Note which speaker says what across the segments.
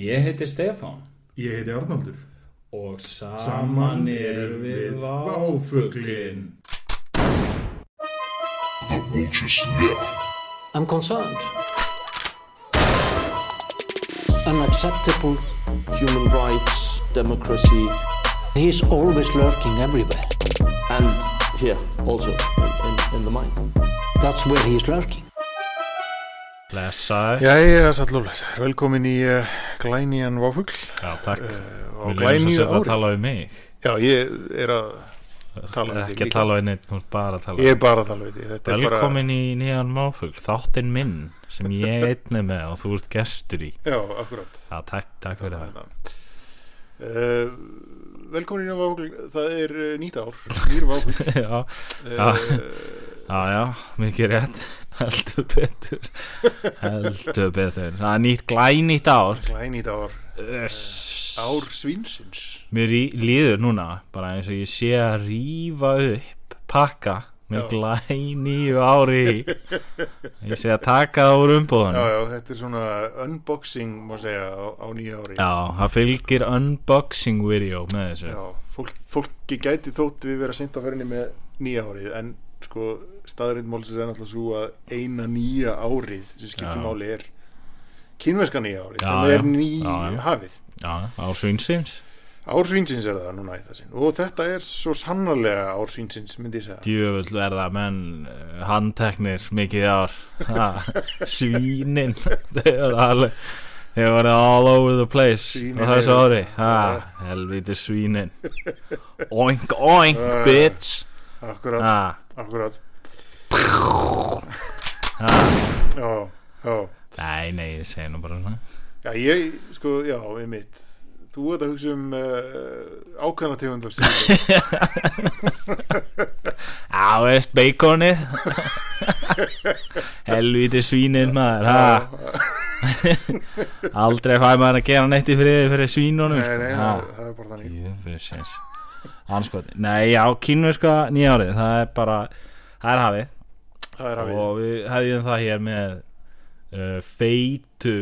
Speaker 1: Ég heiti Stefán
Speaker 2: Ég heiti Arnaldur.
Speaker 1: og saman erum við váfuglin.
Speaker 3: I'm concerned. Unacceptable.
Speaker 4: human rights, democracy,
Speaker 3: He's always lurking everywhere.
Speaker 4: and here also in, in, in the mind.
Speaker 3: That's where he's lurking.
Speaker 5: Blessaður.
Speaker 6: Jæja, sallúlega, velkomin í uh, glænían váfugl eh,
Speaker 5: Já, takk. Við
Speaker 6: á
Speaker 5: lefum svo
Speaker 6: glæníu
Speaker 5: sem að
Speaker 6: ári.
Speaker 5: tala um mig.
Speaker 6: Já, ég er að tala um þig
Speaker 5: Ekki að
Speaker 6: líka.
Speaker 5: tala um neitt, þú ert bara að tala
Speaker 6: Ég er bara að tala við því, þetta er bara...
Speaker 5: Velkomin í nýjan máfugl, þáttinn minn sem ég einn er með og þú ert gestur í.
Speaker 6: Já, akkurat.
Speaker 5: Já, takk, takk fyrir það.
Speaker 6: Uh, velkomin í nýjan váfugl, það er uh, nýtt ár, nýr váfugl.
Speaker 5: já, Já.
Speaker 6: Uh,
Speaker 5: já, já, mikið rétt. Heldur betur. Heldur betur. Það er nýtt glænýtt ár.
Speaker 6: glænýtt ár,
Speaker 5: Uss.
Speaker 6: ár svinsins.
Speaker 5: Mér í- líður núna bara eins og ég sé að rífa upp pakka með
Speaker 6: Já.
Speaker 5: glænýju ári í. Ég sé að taka það úr umbúðan.
Speaker 6: Já, já, þetta er svona unboxing, má segja, á, á nýja ári.
Speaker 5: Já, það fylgir unboxing video með þessu
Speaker 6: Já, fólk, fólki gæti þótt við vera sent á ferðinni með nýja árið en sko staðrindmálsins er náttúrulega svo að eina nýja árið sem skiptir
Speaker 5: Já.
Speaker 6: máli er kínverska nýja árið
Speaker 5: Já,
Speaker 6: sem er
Speaker 5: já.
Speaker 6: ný
Speaker 5: Já, já.
Speaker 6: hafið
Speaker 5: Já, á svinsins
Speaker 6: Ársvínsins er það núna í þessin og þetta er svo sannarlega ársvínsins myndi ég segja
Speaker 5: Djöfull verða menn eh, handteknir mikið í ár Ha, Svínin Þau verða alveg Þau verða all over the place
Speaker 6: Svínin
Speaker 5: á þessu
Speaker 6: eru-
Speaker 5: ári ha, Helvíti svínin Oink, oink, bitch
Speaker 6: Akkurat,
Speaker 5: ha,
Speaker 6: akkurat
Speaker 5: ha.
Speaker 6: Já, já
Speaker 5: Nei, nei, ég segi nú bara svona.
Speaker 6: Já, ég, sko, já, við mitt Þú ert að hugsa um uh, ákveðna tegundar síðan
Speaker 5: Á, veist baconið Helvíti svínin maður ha. Aldrei fæ maður að gera neitt í friði fyrir svínunum sko.
Speaker 6: Nei, nei, það, það er bara þannig
Speaker 5: Jöfusins Anskot Sko, Nei, já, kínverska nýjárið Það er bara Það er hafið
Speaker 6: Það er hafið
Speaker 5: Og við hefðum það hér með uh, Feitu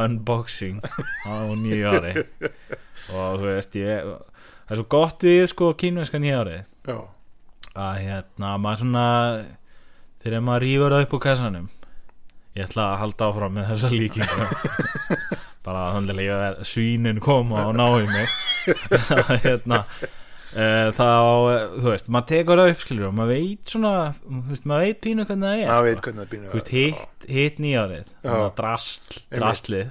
Speaker 5: Unboxing Á nýjári Og þú veist ég Það er svo gott við sko kínverska nýjárið
Speaker 6: Já,
Speaker 5: Að hérna maður svona Þegar maður rýfur það upp úr kassanum Ég ætla að halda áfram með þessa líkingu Bara að þannig að svínin koma og náu mig Að, hérna, e, Þá, eh, þú veist, maður tekur það upp skilur og maður veit svona þú veist, maður veit pínu hvernig það er
Speaker 6: það veit hvernig það býnir
Speaker 5: Þú veist, hitt, hitt nýjárið þannig að drasl,
Speaker 6: Einmitt.
Speaker 5: draslið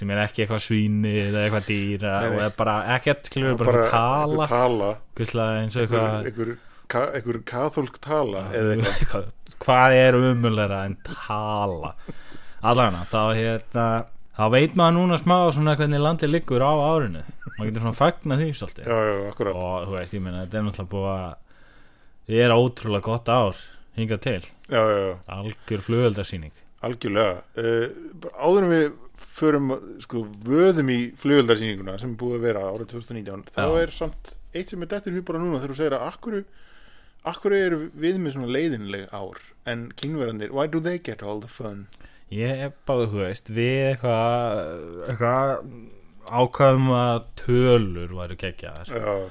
Speaker 5: sem er ekki eitthvað svíni eða eitthvað dýra
Speaker 6: Nei, nei.
Speaker 5: og er bara ekkert, skilur við, bara,
Speaker 6: bara
Speaker 5: bara tala,
Speaker 6: einhver tala
Speaker 5: guslega eins og eitthvað
Speaker 6: einhver, einhver, einhver kathólk tala eða eitthvað
Speaker 5: eitthvað hvað er umulera en tala allavega þá hérna þá veit maður núna smá svona hvernig landið liggur á árinu maður getur svona fagna því svolítið
Speaker 6: já, já, akkurat
Speaker 5: og þú veist ég meina þetta er náttúrulega búið að þið er ótrúlega gott ár hingað til
Speaker 6: já, já, já,
Speaker 5: algjör flugöldarsýning
Speaker 6: algjörlega uh, bara áður en við förum sko vöðum í flugöldarsýninguna sem er búið að vera árið 2019 þá
Speaker 5: Já.
Speaker 6: er samt eitt sem er dettur hér bara núna þegar þú segir að akkur akkur eru við með svona leiðinleg ár en kynverðanir, why do they get all the fun
Speaker 5: ég er bara þú veist við eitthvað eitthvað ákvæðum að tölur væru geggjaðar
Speaker 6: já,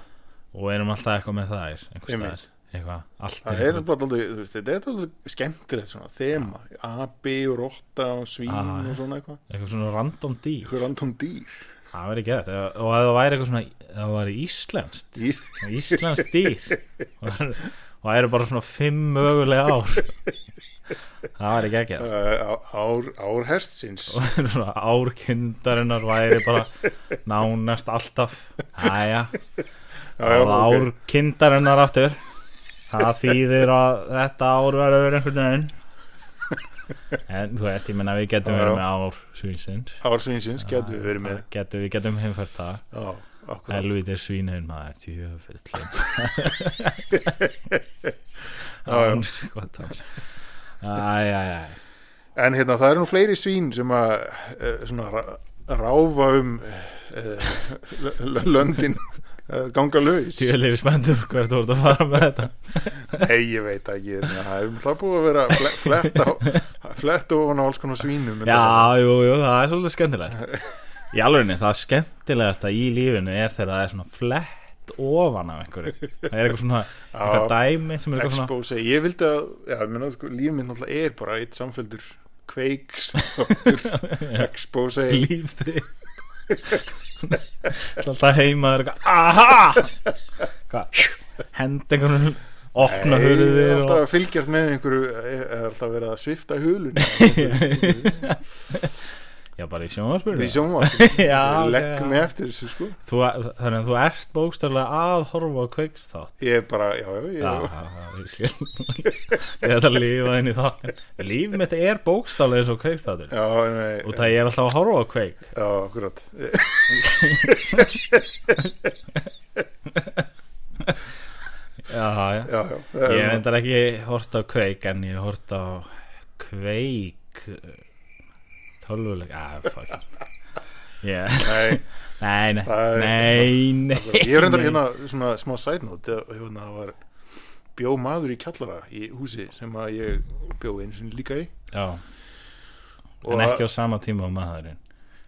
Speaker 5: og erum alltaf eitthvað með þær einhvers
Speaker 6: Einmitt.
Speaker 5: staðar eitthvað allt
Speaker 6: það
Speaker 5: er
Speaker 6: er bara aldrei þú veist, þetta er alltaf skemmtilegt svona þema, abi og rotta og svín
Speaker 5: Ah.
Speaker 6: og svona eitthvað,
Speaker 5: eitthvað svona random dýr
Speaker 6: eitthvað random dýr
Speaker 5: Það væri gett og ef það væri eitthvað svona ef það væri íslenskt
Speaker 6: dýr
Speaker 5: íslenskt dýr og og það eru bara svona fimm mögulega ár það væri geggjað
Speaker 6: uh, ár, ár hestsins
Speaker 5: og svona árkindarinnar væri bara nánast alltaf Æja,
Speaker 6: Já, já, ok.
Speaker 5: árkindarinnar aftur það þýðir að þetta ár verður einhvern veginn en þú veist, ég menna við getum
Speaker 6: Já,
Speaker 5: verið
Speaker 6: já.
Speaker 5: með ár svínsins
Speaker 6: ár svinsins getum við verið með
Speaker 5: getum, við getum heimfært það
Speaker 6: já, akkurat
Speaker 5: Helviti svínhund maður Tjöfullin
Speaker 6: já.
Speaker 5: Án skotans Æjæjæ
Speaker 6: en hérna það eru nú fleiri svín sem að uh, svona rá- ráfa um uh, löndin uh, ganga laus
Speaker 5: Tjöfull er spenntur hvert þú ert að fara með þetta
Speaker 6: nei ég veit ekki en það hefum það búið að vera fle- flett á flett ofan á alls konar svínum
Speaker 5: Já, jú, jú, það er svolítið skemmtilegt í alvegni það skemmtilegasta í lífinu er þegar það er svona flett ofan af einhverju það er eitthvað svona eitthvað dæmi sem er eitthvað svona
Speaker 6: Expose, ég vildi að já, menna, sko, líf minn náttúrulega er bara eitt samfélgur kveiks expose
Speaker 5: lífstri alltaf heima það er eitthvað aha Hvað, hend einhvern opna
Speaker 6: Nei,
Speaker 5: hurðið
Speaker 6: alltaf
Speaker 5: og
Speaker 6: að fylgjast með einhverju eh, er alltaf verið að svifta hulun
Speaker 5: já bara í sjónvarspyrðu
Speaker 6: í sjónvarp
Speaker 5: Já, ok,
Speaker 6: legg
Speaker 5: já.
Speaker 6: mig eftir þessu sko
Speaker 5: Þú- þannig að þú ert bókstaflega að horfa á Ah, kveikstátt
Speaker 6: ég er bara, já, já,
Speaker 5: Já,
Speaker 6: já.
Speaker 5: það er skil Þetta lífa inn í þátt Líf mitt er bókstálega eins og kveikstáttur
Speaker 6: Já, nei,
Speaker 5: Og það ég er alltaf að horfa á kveik
Speaker 6: já, akkurat
Speaker 5: Já, já
Speaker 6: Já, já, Eh,
Speaker 5: Ég er
Speaker 6: já,
Speaker 5: endar ekki hort á kveik En ég hort á kveik Tölvuleg Já, fuck yeah.
Speaker 6: nei,
Speaker 5: Nei, nei,
Speaker 6: Það er-
Speaker 5: nei, nei
Speaker 6: ég er reyndar
Speaker 5: nei.
Speaker 6: hérna svona smá side note þegar- hérna, það var bjó maður í kallara í húsi sem að ég bjó einu sinni líka í
Speaker 5: Já,
Speaker 6: Og-
Speaker 5: en ekki á sama tíma á maðurinn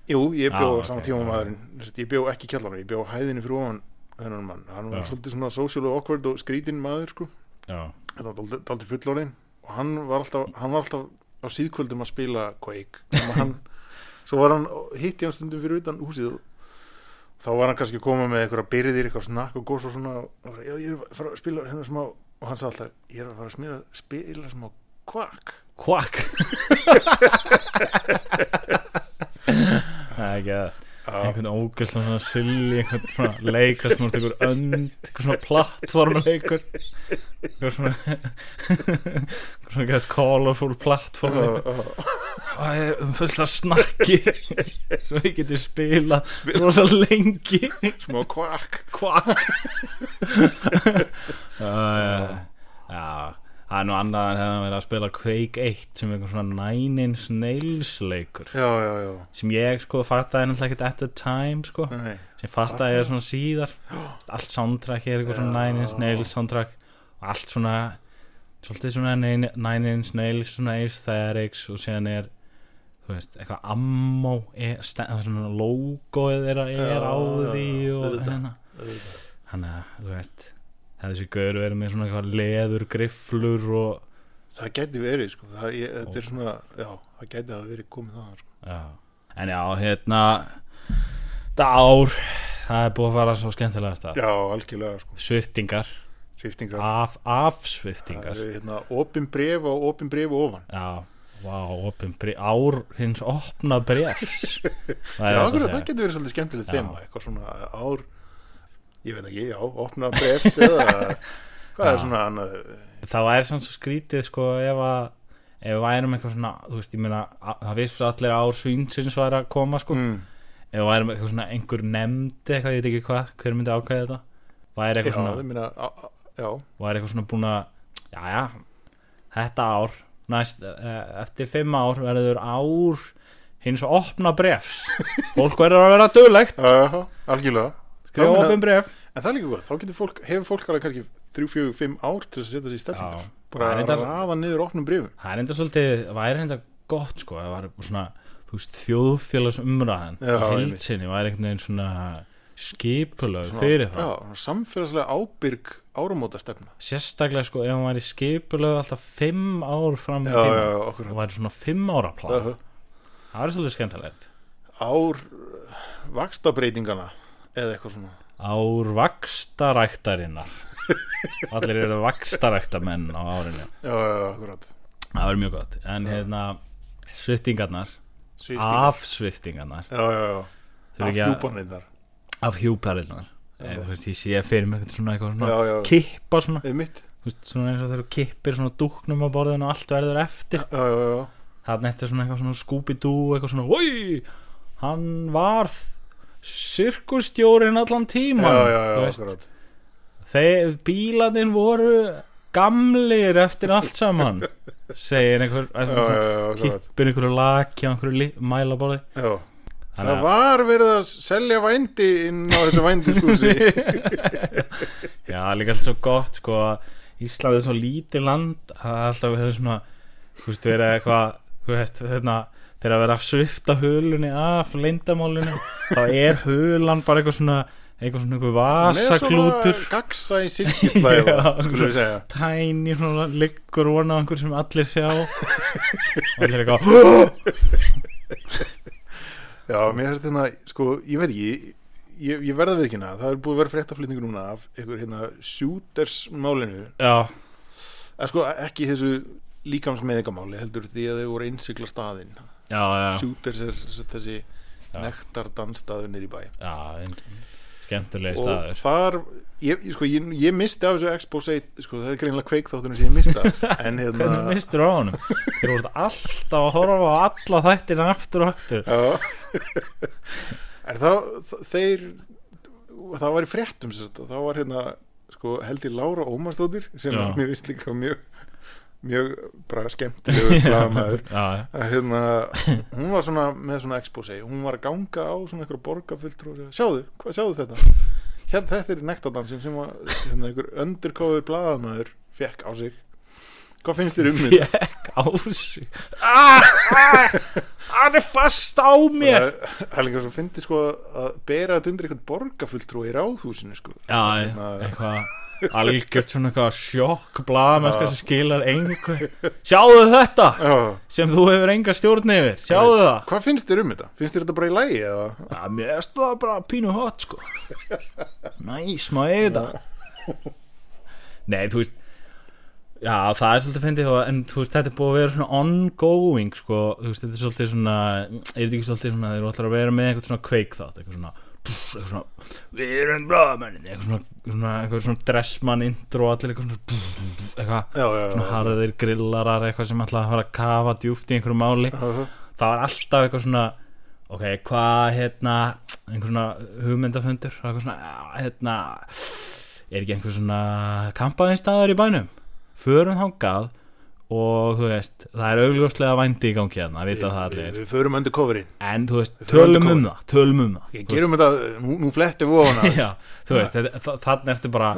Speaker 6: Jú, ég
Speaker 5: Ah,
Speaker 6: bjó á
Speaker 5: ok,
Speaker 6: sama tíma
Speaker 5: já.
Speaker 6: og maðurinn Sem sagt, ég bjó ekki í kjallarinn, ég bjó á hæðinni fyrir ofan þennan mann, hann var
Speaker 5: Já.
Speaker 6: svolítið svona social og awkward og skrítinn maður sko
Speaker 5: Já,
Speaker 6: þetta var daldi fullorðin og hann var alltaf, hann var alltaf á síðkvöldum að spila Quake Þannig að hann, svo var hann, hitti hann stundum fyrir utan húsið og þá var hann kannski að koma með eitthvað byrðir, eitthvað snakk og gós og svona, og hann var, já ég er að fara að spila hérna smá, og hann sagði alltaf ég er að fara að smila, spila smá Quake
Speaker 5: kvakk Það er ekki að
Speaker 6: já,
Speaker 5: einhvern ógæslan svona silli einhvern svona leikar sem ást einhver önd einhvern svona plattformleikur einhver svona einhver svona gett colorful platform
Speaker 6: já, já.
Speaker 5: það er um fullt að snakki svo ég geti spila rosa lengi
Speaker 6: smá Quake
Speaker 5: hvað já já. það er nú annað en hefðan verið að spila Quake 1 sem einhver svona Nine Inch Nails leikur
Speaker 6: já, já, já,
Speaker 5: sem ég sko fattaði náttúrulega ekkert at the time sko
Speaker 6: nei
Speaker 5: sem fatt að ég er svona síðar allt soundtrack er eitthvað svona Nine Inch Nails soundtrack og allt svona svolítið svona Nine Nine Inch Nails svona aesthetics og síðan er þú veist, eitthvað ammo er, sta- það er svona logoið þeirra er
Speaker 6: Já,
Speaker 5: á
Speaker 6: já,
Speaker 5: því
Speaker 6: já,
Speaker 5: og
Speaker 6: auðvitað,
Speaker 5: hérna hann að, þú veist hefði þessi gaur verið með svona eitthvað leður grifflur og
Speaker 6: það gæti verið, sko, það, ég, þetta er svona já, það gæti að verið komið það, sko
Speaker 5: já. en já, hérna þetta ár það er búið að fara svo skemmtilega stað
Speaker 6: já, algjörlega, sko,
Speaker 5: sviftingar,
Speaker 6: sviftingar
Speaker 5: af,
Speaker 6: Það
Speaker 5: afsviftingar
Speaker 6: eru hérna opin bref og opin bref ofan
Speaker 5: Já, vá, opin bref Ár hins opna brefs Það
Speaker 6: Já,
Speaker 5: er
Speaker 6: akkurat,
Speaker 5: þetta að
Speaker 6: það
Speaker 5: segja
Speaker 6: getur verið svolítið skemmtileg
Speaker 5: Já.
Speaker 6: þema eitthvað svona ár ég veit ekki, já, opna brefs eða hvað er
Speaker 5: Já.
Speaker 6: svona annað
Speaker 5: Það væri samt svo skrítið sko ef að ef við værum eitthvað svona, þú veist, ég meina a- það vissu allir að ár svinsins væri að koma sko
Speaker 6: mm,
Speaker 5: ef við værum eitthvað svona einhver nefndi eitthvað, ég veit ekki hvað, hver myndi ákveða þetta væri
Speaker 6: já,
Speaker 5: eitthvað
Speaker 6: það
Speaker 5: svona,
Speaker 6: minna á- á- já,
Speaker 5: væri eitthvað svona búin að jæja, þetta ár næst, eh, eftir fimm ár verður ár hins opna brefs fólk verður að vera duglegt
Speaker 6: já, já, algjörlega Það
Speaker 5: skrifa
Speaker 6: meina-
Speaker 5: opin bref
Speaker 6: en það er líka gott, þá getur fólk hefur fólk alveg kannski 3, 4, 5 ár til þess að setja sig í
Speaker 5: Já.
Speaker 6: steltingar
Speaker 5: Það
Speaker 6: bara
Speaker 5: er
Speaker 6: að
Speaker 5: þetta-
Speaker 6: raða niður opnum brefum
Speaker 5: það er enda svolítið, væri enda gott sko, það var svona, þú veist, þjóðfélagsumræðan
Speaker 6: Já, einmitt.
Speaker 5: hildsinni væri einhvern veginn svona skipulög
Speaker 6: Svona-
Speaker 5: fyrir
Speaker 6: já,
Speaker 5: það,
Speaker 6: svona samfélagslega ábyrg áramóta stefna
Speaker 5: sérstaklega sko ef hann væri skipulög alltaf fimm ár fram í
Speaker 6: já, já,
Speaker 5: tíma,
Speaker 6: já,
Speaker 5: og
Speaker 6: okkur
Speaker 5: væri svona fimm ára plan, það væri svolítið skemmtilegt
Speaker 6: ár vakstabreytingana eða eitthvað svona
Speaker 5: ár vakstaræktarinnar allir eru vakstaræktamenn á árinu,
Speaker 6: já, já, já, akkurat
Speaker 5: það væri mjög gott en hérna, sviftingarnar
Speaker 6: Sviftingar.
Speaker 5: afsviftingarnar
Speaker 6: já, já, já
Speaker 5: Þurfi Ah. ekki að-
Speaker 6: afhjúpanirnar
Speaker 5: af hjúparinnar Eða, þú veist, ég sé fyrir mig eitthvað svona, eitthvað svona
Speaker 6: Já, já.
Speaker 5: kippa svona,
Speaker 6: eða mitt
Speaker 5: þú veist, svona eins og þegar þú kippir svona dúknum á borðinu og allt verður eftir
Speaker 6: já, já, já,
Speaker 5: þannig eftir svona eitthvað svona Scooby-Doo eitthvað svona, oi, hann var sirkustjórin allan tíman
Speaker 6: já, já, já,
Speaker 5: þú veist,
Speaker 6: akkurat
Speaker 5: þeir bílaninn voru gamlir eftir allt saman segir einhver,
Speaker 6: já,
Speaker 5: einhver
Speaker 6: já,
Speaker 5: svona,
Speaker 6: já, akkurat
Speaker 5: kippir einhverju laki á einhverju li- mælaborði
Speaker 6: já.
Speaker 5: Þannig
Speaker 6: það
Speaker 5: að-
Speaker 6: var verið að selja vændi inn á þessu vændiskúsi
Speaker 5: Já, það er líka alltaf svo gott sko að Ísland er svo lítið land að alltaf verður svona þú veist, verið eitthvað þú veist, hérna, þegar að vera að svifta hulunni af leyndamálinu þá er hulan bara eitthvað svona eitthvað svona eitthvað vasaklútur
Speaker 6: gagsa í silkislæða
Speaker 5: Já,
Speaker 6: skulum við segja
Speaker 5: tæni svona liggur vona á einhver sem allir sjá og allir eitthvað
Speaker 6: já, mér finnst hérna, sko, ég veit ekki ég, ég verða við ekki hérna, það er búið að vera fréttaflýtningur núna af einhver hérna sjútersmálinu,
Speaker 5: já,
Speaker 6: eða sko ekki þessu líkamsmeðingamáli heldur því að þau voru að innsikla staðinn
Speaker 5: já, já,
Speaker 6: sjúters er sem sagt þessi nektardansstaður niður í bæ
Speaker 5: já ein- skemmtilegi
Speaker 6: og
Speaker 5: staður
Speaker 6: þar ég, ég- sko, ég, ég misti af þessu expose sko, það er greinlega kveik þáttunum sem ég misti af en hérna
Speaker 5: hvernig mistur á honum þeir voru alltaf að horfa á alla þættina aftur og aftur
Speaker 6: Já En þá, þ- þeir það var í fréttum sem sagt, og þá var hérna, sko, held ég Lára Ómarsdóttir sem
Speaker 5: Já.
Speaker 6: mér vist líka mjög mjög bara skemmtilegu blaðamaður
Speaker 5: já,
Speaker 6: að hérna, hún var svona með svona expose, hún var að ganga á svona einhver borgarfulltrú og segja, sjáðu, hvað sjáðu þetta hérna þetta er nektardansin sem var hérna, einhver undercover blaðamaður fekk á sig hvað finnst þér um þetta?
Speaker 5: fekk á sig Ah, ah, hann er fast á mér
Speaker 6: Og það það er líka svo fyndi sko að bera þetta undir eitthvað borgarfulltrú í ráðhúsinu sko
Speaker 5: já, eitthvað algjört svona eitthvað sjokk blaðamennska sem skilar engu sjáðu þetta
Speaker 6: Já,
Speaker 5: sem þú hefur enga stjórn yfir sjáðu það
Speaker 6: hvað finnst þér um þetta? Finnst þér þetta bara í lægi eða?
Speaker 5: Já, mér erst það bara pínu hot sko næs, má ég þetta nei, þú veist já, það er svolítið fyndið og- en þú veist, þetta er búið að vera svona ongoing sko, þú veist, þetta er svolítið svona er þetta ekki svolítið svona, þeir eru alltaf að vera með eitthvað svona kveik þátt, eitthvað svona pff, eitthvað svona, við erum blöðamennin eitthvað svona, svona, eitthvað svona dressmann intro og allir eitthvað svona pff, pff, pff, eitthvað,
Speaker 6: Já, já,
Speaker 5: svona
Speaker 6: já
Speaker 5: harðir grillarar eitthvað sem alltaf að fara að kafa djúft í einhverju máli
Speaker 6: Já,
Speaker 5: það var alltaf eitthvað svona ok, hvað hérna einhver svona hugmyndafundur eitthvað svona, já, hérna er ekki einhver svona kampaðinstaður í bænum förum þangað og þú veist, það er augljóslega vændi í gangi hérna, það vita það
Speaker 6: Við
Speaker 5: allir
Speaker 6: við förum undir coverin
Speaker 5: en þú veist,
Speaker 6: förum
Speaker 5: tölum
Speaker 6: undir
Speaker 5: um það tölum um það
Speaker 6: Ég gerum þetta, nú, nú flettum við ofan að
Speaker 5: já, þú veist, þetta- þa- þarna ertu bara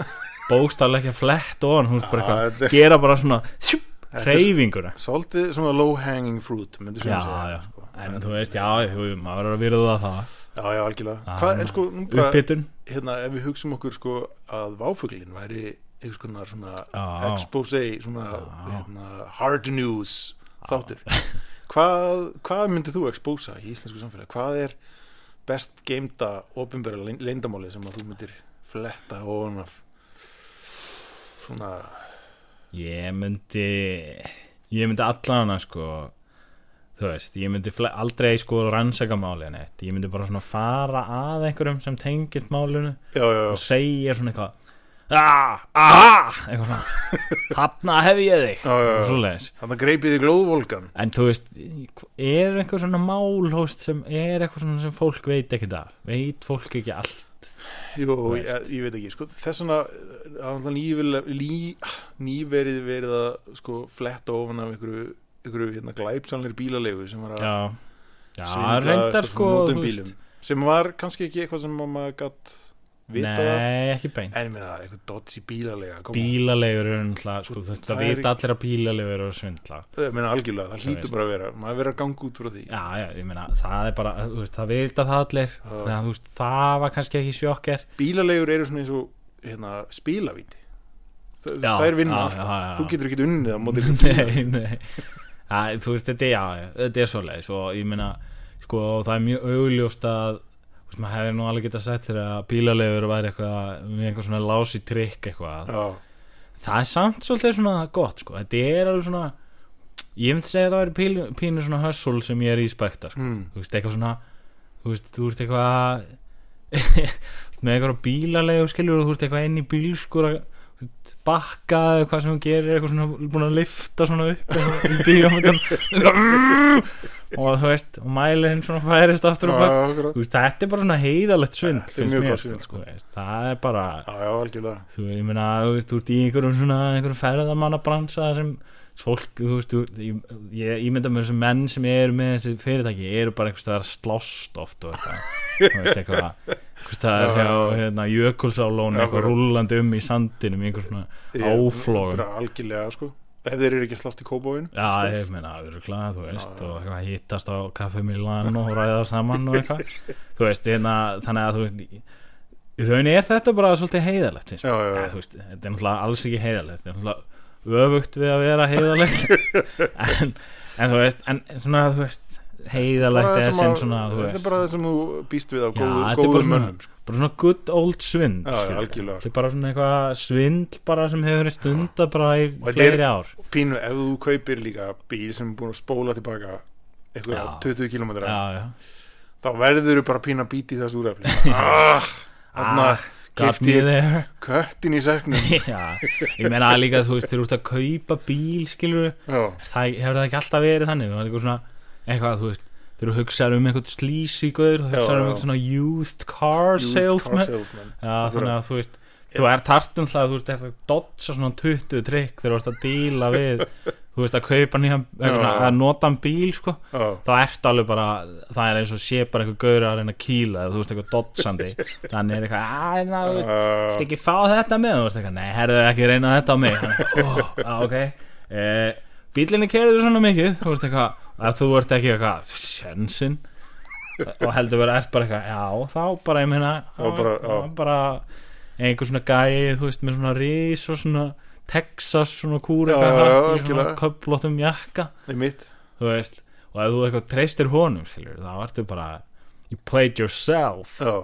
Speaker 5: bókstaflega ekki að flett ofan hún er bara
Speaker 6: Já,
Speaker 5: eitthvað,
Speaker 6: þetta-
Speaker 5: gera bara svona
Speaker 6: er-
Speaker 5: reyfinguna
Speaker 6: Svolítið svona low hanging fruit myndi svona
Speaker 5: já,
Speaker 6: segja
Speaker 5: já,
Speaker 6: sko.
Speaker 5: en þú veist, já, jú, maður verður að virða það,
Speaker 6: já, já, algjörlega
Speaker 5: Já,
Speaker 6: Hvað, en sko, nú bara,
Speaker 5: uppbytun
Speaker 6: hérna, ef við hugsum okkur sko að váfuglin væri einhvers konar svona
Speaker 5: Já.
Speaker 6: expose, svona hérna, hard news þáttur hvað, hvað myndir þú exposa í íslensku samfélagi? Hvað er best geimda opinbæra leindamáli sem að þú myndir fletta ofan af svona
Speaker 5: Ég myndi Ég myndi allan að sko Þú veist, ég myndi fle- aldrei sko rannsaka málið neitt Ég myndi bara svona fara að einhverjum sem tengist málinu
Speaker 6: já, já,
Speaker 5: og segja svona eitthvað Ah, aha, eitthvað svona Þarna hef ég þig
Speaker 6: Já, já, já.
Speaker 5: Svoleiðis.
Speaker 6: hann það greipið í glóðvolgan
Speaker 5: En þú veist, er einhver svona mál hóst sem er eitthvað svona sem fólk veit ekki það Veit fólk ekki allt
Speaker 6: Jú, ég,
Speaker 5: veist.
Speaker 6: ég veit ekki, sko, þess vegna að nýverið verið að sko fletta ofan af einhverju, einhverju hérna, glæpsanleir bílalegu sem var að
Speaker 5: Já, já
Speaker 6: svindla
Speaker 5: reyndar
Speaker 6: eitthvað
Speaker 5: sko
Speaker 6: svona
Speaker 5: þú
Speaker 6: notum
Speaker 5: veist.
Speaker 6: bílum sem var kannski ekki eitthvað sem að maður gætt vitað af
Speaker 5: Nei, ekki beint
Speaker 6: en ég meina eitthvað dodgy bílalega kom-
Speaker 5: bílalegur er náttúrulega sko, þú veist, það
Speaker 6: það er
Speaker 5: vita allir að bílalegur eru að svindla
Speaker 6: ég meina algjörlega, það hlýtur
Speaker 5: veist.
Speaker 6: bara að vera maður verið að ganga út frá því
Speaker 5: já, já, ég meina, það er bara þú veist, það vita það allir
Speaker 6: Já.
Speaker 5: þannig að þú veist, það var kannski ekki sjokker
Speaker 6: bílalegur eru svona eins og hérna, spilavíti Þa,
Speaker 5: Já,
Speaker 6: það er vinna
Speaker 5: já,
Speaker 6: alltaf,
Speaker 5: já, já.
Speaker 6: þú getur ekki unnið á móti einhverjum bíl.
Speaker 5: nei, nei það, þú veist, þetta er, já, já, þetta er svoleiðis og ég meina, sko, það er mjög augljóst að, þú veist, maður hefði nú alveg getað sagt þér að bílalegur væri eitthvað með einhver svona lási trikk eitthvað
Speaker 6: já,
Speaker 5: það er samt svolítið svona gott, sko þetta er alveg svona ég myndi segja að það væri pínu, pínu svona hössul sem ég er í spekta, sko
Speaker 6: mm,
Speaker 5: þú veist, eitthvað svona þú veist, þú veist eitthvað með eitthvað bílalegu skilur og þú veist eitthvað inn í bílskúra þú veist, bakka eða hvað sem hún gerir eitthvað svona búin að lifta svona upp eitthvað í bíómyndum og þú veist, og mælirinn svona færist aftur og bak
Speaker 6: já, akkurat.
Speaker 5: þú veist, þetta er bara svona heiðalegt svindl
Speaker 6: Þetta er
Speaker 5: finnst
Speaker 6: mjög
Speaker 5: mér,
Speaker 6: gott svindl, sko.
Speaker 5: þú veist, það er bara
Speaker 6: já, já, algjörlega
Speaker 5: þú, ég meina, þú veist, þú ert í einhverjum svona einhverjum ferðamannabransa sem fólk, þú veist, þú, ég, ég ímynda mér sem menn sem eru með þessi fyrirtæki eru bara einhvers staðar slást oft og eitthvað, þú veist, eitthvað einhvers staðar
Speaker 6: Já,
Speaker 5: hjá,
Speaker 6: já, já.
Speaker 5: hérna, jökulsálón
Speaker 6: Já,
Speaker 5: eitthvað
Speaker 6: bara-
Speaker 5: rullandi um í sandinum í einhver svona
Speaker 6: Ég-
Speaker 5: áflógum
Speaker 6: bara algjörlega sko ef þeir eru ekki að slást í kóbóin
Speaker 5: Já, ég meina, við erum klæðið, þú veist og eitthvað hittast á kaffi Milan og ræða saman og eitthvað þú veist, hérna, þannig að þú veist í- í rauninni er þetta bara svolítið heiðalegt finnst mér.
Speaker 6: Já, já, já.
Speaker 5: Eða, þú veist, þetta er náttúrulega alls ekki heiðalegt þetta er náttúrulega öfugt við að vera heiðalegt en, en þú veist en svona, þú veist, heiðalegt
Speaker 6: það
Speaker 5: er
Speaker 6: sem
Speaker 5: sem
Speaker 6: að-
Speaker 5: svona, þú
Speaker 6: þetta er
Speaker 5: veist
Speaker 6: bara það sem þú býst við á
Speaker 5: Já,
Speaker 6: góðu,
Speaker 5: þetta er bara
Speaker 6: góðum
Speaker 5: svona-
Speaker 6: mönnum sko.
Speaker 5: bara svona good old svind
Speaker 6: Já, já,
Speaker 5: skilurðu.
Speaker 6: algjörlega, sko.
Speaker 5: þetta er bara svona eitthvað svind bara sem hefur verið stunda bara í
Speaker 6: Og þetta
Speaker 5: fleiri
Speaker 6: er-
Speaker 5: ár
Speaker 6: pínu ef þú kaupir líka bíl sem er búin að spóla tilbaka eitthvað
Speaker 5: Já.
Speaker 6: 20 km
Speaker 5: já, já,
Speaker 6: þá verður þú bara að pína bíti í þessu úrefli ah,
Speaker 5: Ah, got
Speaker 6: þarna
Speaker 5: me
Speaker 6: keypti ég
Speaker 5: there
Speaker 6: köttin í segnum
Speaker 5: já, ég meina að líka þú veist þeir eru út að kaupa bíl skilur
Speaker 6: já,
Speaker 5: það hefur það ekki alltaf verið þannig það var eitthvað svona eitthvað þú veist þeir eru hugsaður um einhvern sleazy gaur þú
Speaker 6: Já,
Speaker 5: hugsaður um
Speaker 6: já.
Speaker 5: einhvern svona used car
Speaker 6: used car
Speaker 5: salesman
Speaker 6: salesman.
Speaker 5: já þannig að þú veist þú er þartum hlað þú veist eftir að dodsa svona 20 trikk þegar þú ert að díla við þú veist að kaupa nýjan
Speaker 6: Já,
Speaker 5: eitthvað,
Speaker 6: já.
Speaker 5: að nota hann bíl sko
Speaker 6: Já,
Speaker 5: þá ertu alveg bara það er eins og sé bara eitthvað gaur að reyna að kýla eða þú veist eitthvað dodsandi þannig er eitthvað að na, þú veist
Speaker 6: uh,
Speaker 5: Viltu ekki fá þetta með? Þú veist eitthvað, nei, herðu ekki reyna þetta á mig Þannig, Ó, á, ok e, Bílinni kerður svona mikið Þú veist eitthvað að þú ert ekki eitthvað Sjensin Og heldur verið ert bara eitthvað, já, þá bara ég meina
Speaker 6: Þá bara,
Speaker 5: þá
Speaker 6: já.
Speaker 5: bara Einhver svona gæi, þú veist, með svona rís Og svona Texas svona kúra
Speaker 6: Já, já,
Speaker 5: hatt í svona
Speaker 6: algjörlega.
Speaker 5: köflóttum jakka
Speaker 6: mitt
Speaker 5: Þú veist, og ef þú eitthvað treystir honum skilur, Þá ertu bara You played yourself
Speaker 6: já,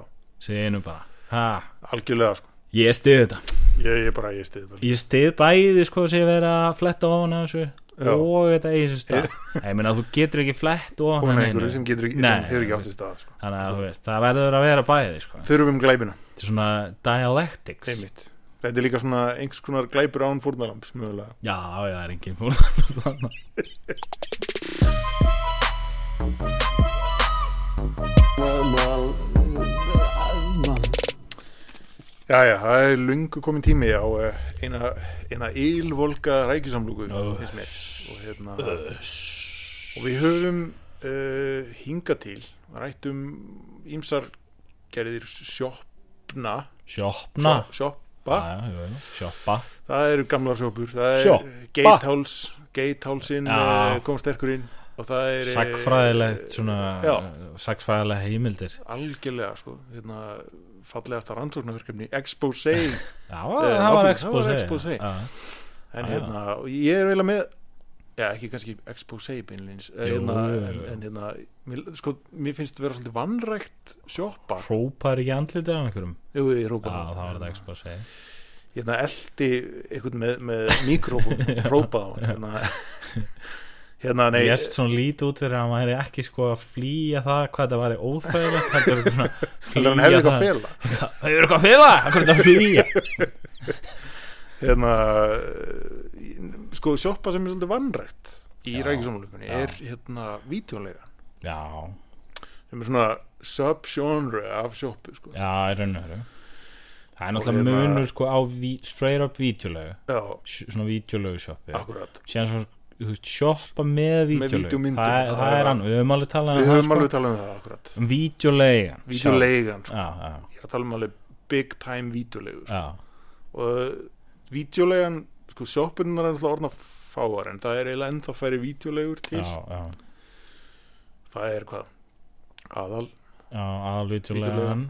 Speaker 5: Seginu bara, ha,
Speaker 6: algjörlega sko.
Speaker 5: ég stiði þetta
Speaker 6: ég, ég bara, ég stið þetta
Speaker 5: ég stið bæði sko sem ég verið að fletta ofan af þessu
Speaker 6: Já.
Speaker 5: og þetta eigi sér stað ég meina þú getur ekki flett
Speaker 6: og
Speaker 5: ofan af
Speaker 6: einhverju
Speaker 5: neinu.
Speaker 6: sem, getur, ekki-
Speaker 5: Nei,
Speaker 6: sem hefur
Speaker 5: þú
Speaker 6: ekki átt
Speaker 5: veist.
Speaker 6: í stað sko.
Speaker 5: þannig að þú veist það verður að vera bæði sko
Speaker 6: þurfum glæbina
Speaker 5: þetta er svona dialectics já
Speaker 6: einmitt. þetta er líka svona einhvers konar glæbur án fórnalamb mögulega
Speaker 5: já það er engin fórnarlamb þarna.
Speaker 3: Well, well, uh, um,
Speaker 6: já, já, það er lungu komin tími á eh, eina, eina ylvolga rækisamlúku finnst mér. og hérna og við höfum uh, hinga til rætt um ímsar gerðir sjoppna
Speaker 5: sjopna
Speaker 6: sjoppa
Speaker 5: Já, já, jú, jú, sjoppa
Speaker 6: það eru gamlar sjoppur það er
Speaker 5: Sjoppa.
Speaker 6: eh, geitháls geithálsinn
Speaker 5: Já.
Speaker 6: eh, kom sterkur inn og það er eh,
Speaker 5: sagfræðilegt svona
Speaker 6: já,
Speaker 5: sagfræðilega heimildir
Speaker 6: algjörlega sko hérna fallegasta rannsóknarverkefni expose
Speaker 5: já það var
Speaker 6: Eh, áfram- það
Speaker 5: expose
Speaker 6: var exposé.
Speaker 5: Já.
Speaker 6: en
Speaker 5: Ah, Já.
Speaker 6: hérna, og ég er eiginlega með já, ekki kannski expose beinlins eh,
Speaker 5: Jú,
Speaker 6: hérna,
Speaker 5: jú,
Speaker 6: en,
Speaker 5: jú.
Speaker 6: en hérna mér, sko, mér finnst vera svolítið vanrækt sjoppa,
Speaker 5: hrópar ekki andlitið af einhverjum já
Speaker 6: jú, ég rópa
Speaker 5: það sko. var þetta expose
Speaker 6: hérna eldi einhvern með, með mikrofón og própaði á hann, hérna, hérna nei
Speaker 5: Ég erst svona lítið út fyrir að maður er ekki sko að flýja það hvað þetta væri óþægilegt heldur er svona að
Speaker 6: heldur hann hefði eitthvað að fela
Speaker 5: það Það hefur eitthvað að fela, hann hvernig að flýja
Speaker 6: hérna eh, sko sjoppa sem er svolítið vanrækt í
Speaker 5: Já,
Speaker 6: rækisamlugunni
Speaker 5: já.
Speaker 6: er hérna vítjónlega
Speaker 5: Já,
Speaker 6: sem er svona subgenre af sjoppu sko.
Speaker 5: já, í raun og veru Það er
Speaker 6: Og
Speaker 5: náttúrulega
Speaker 6: hérna-
Speaker 5: munur sko á ví- straight up vítjulegu
Speaker 6: já,
Speaker 5: svona vítjulegu sjoppi
Speaker 6: akkurat
Speaker 5: síðan svona, þú veist, sjoppa með vítjulegu
Speaker 6: vídeómyndum.
Speaker 5: það, er- það er hann, við höfum alveg talað
Speaker 6: við
Speaker 5: um
Speaker 6: höfum
Speaker 5: það
Speaker 6: alveg talað um það akkurat
Speaker 5: sko vítjulegan
Speaker 6: vítjólegan, sko.
Speaker 5: Já, já,
Speaker 6: ég er að tala um alveg big time vítjólegu sko.
Speaker 5: já,
Speaker 6: og vítjólegan, sko sjoppunar er alltaf orðna fáar en það er eiginlega ennþá færi vítjólegur til
Speaker 5: já, já
Speaker 6: það er hvað aðal,
Speaker 5: Já, aðalvítjulegan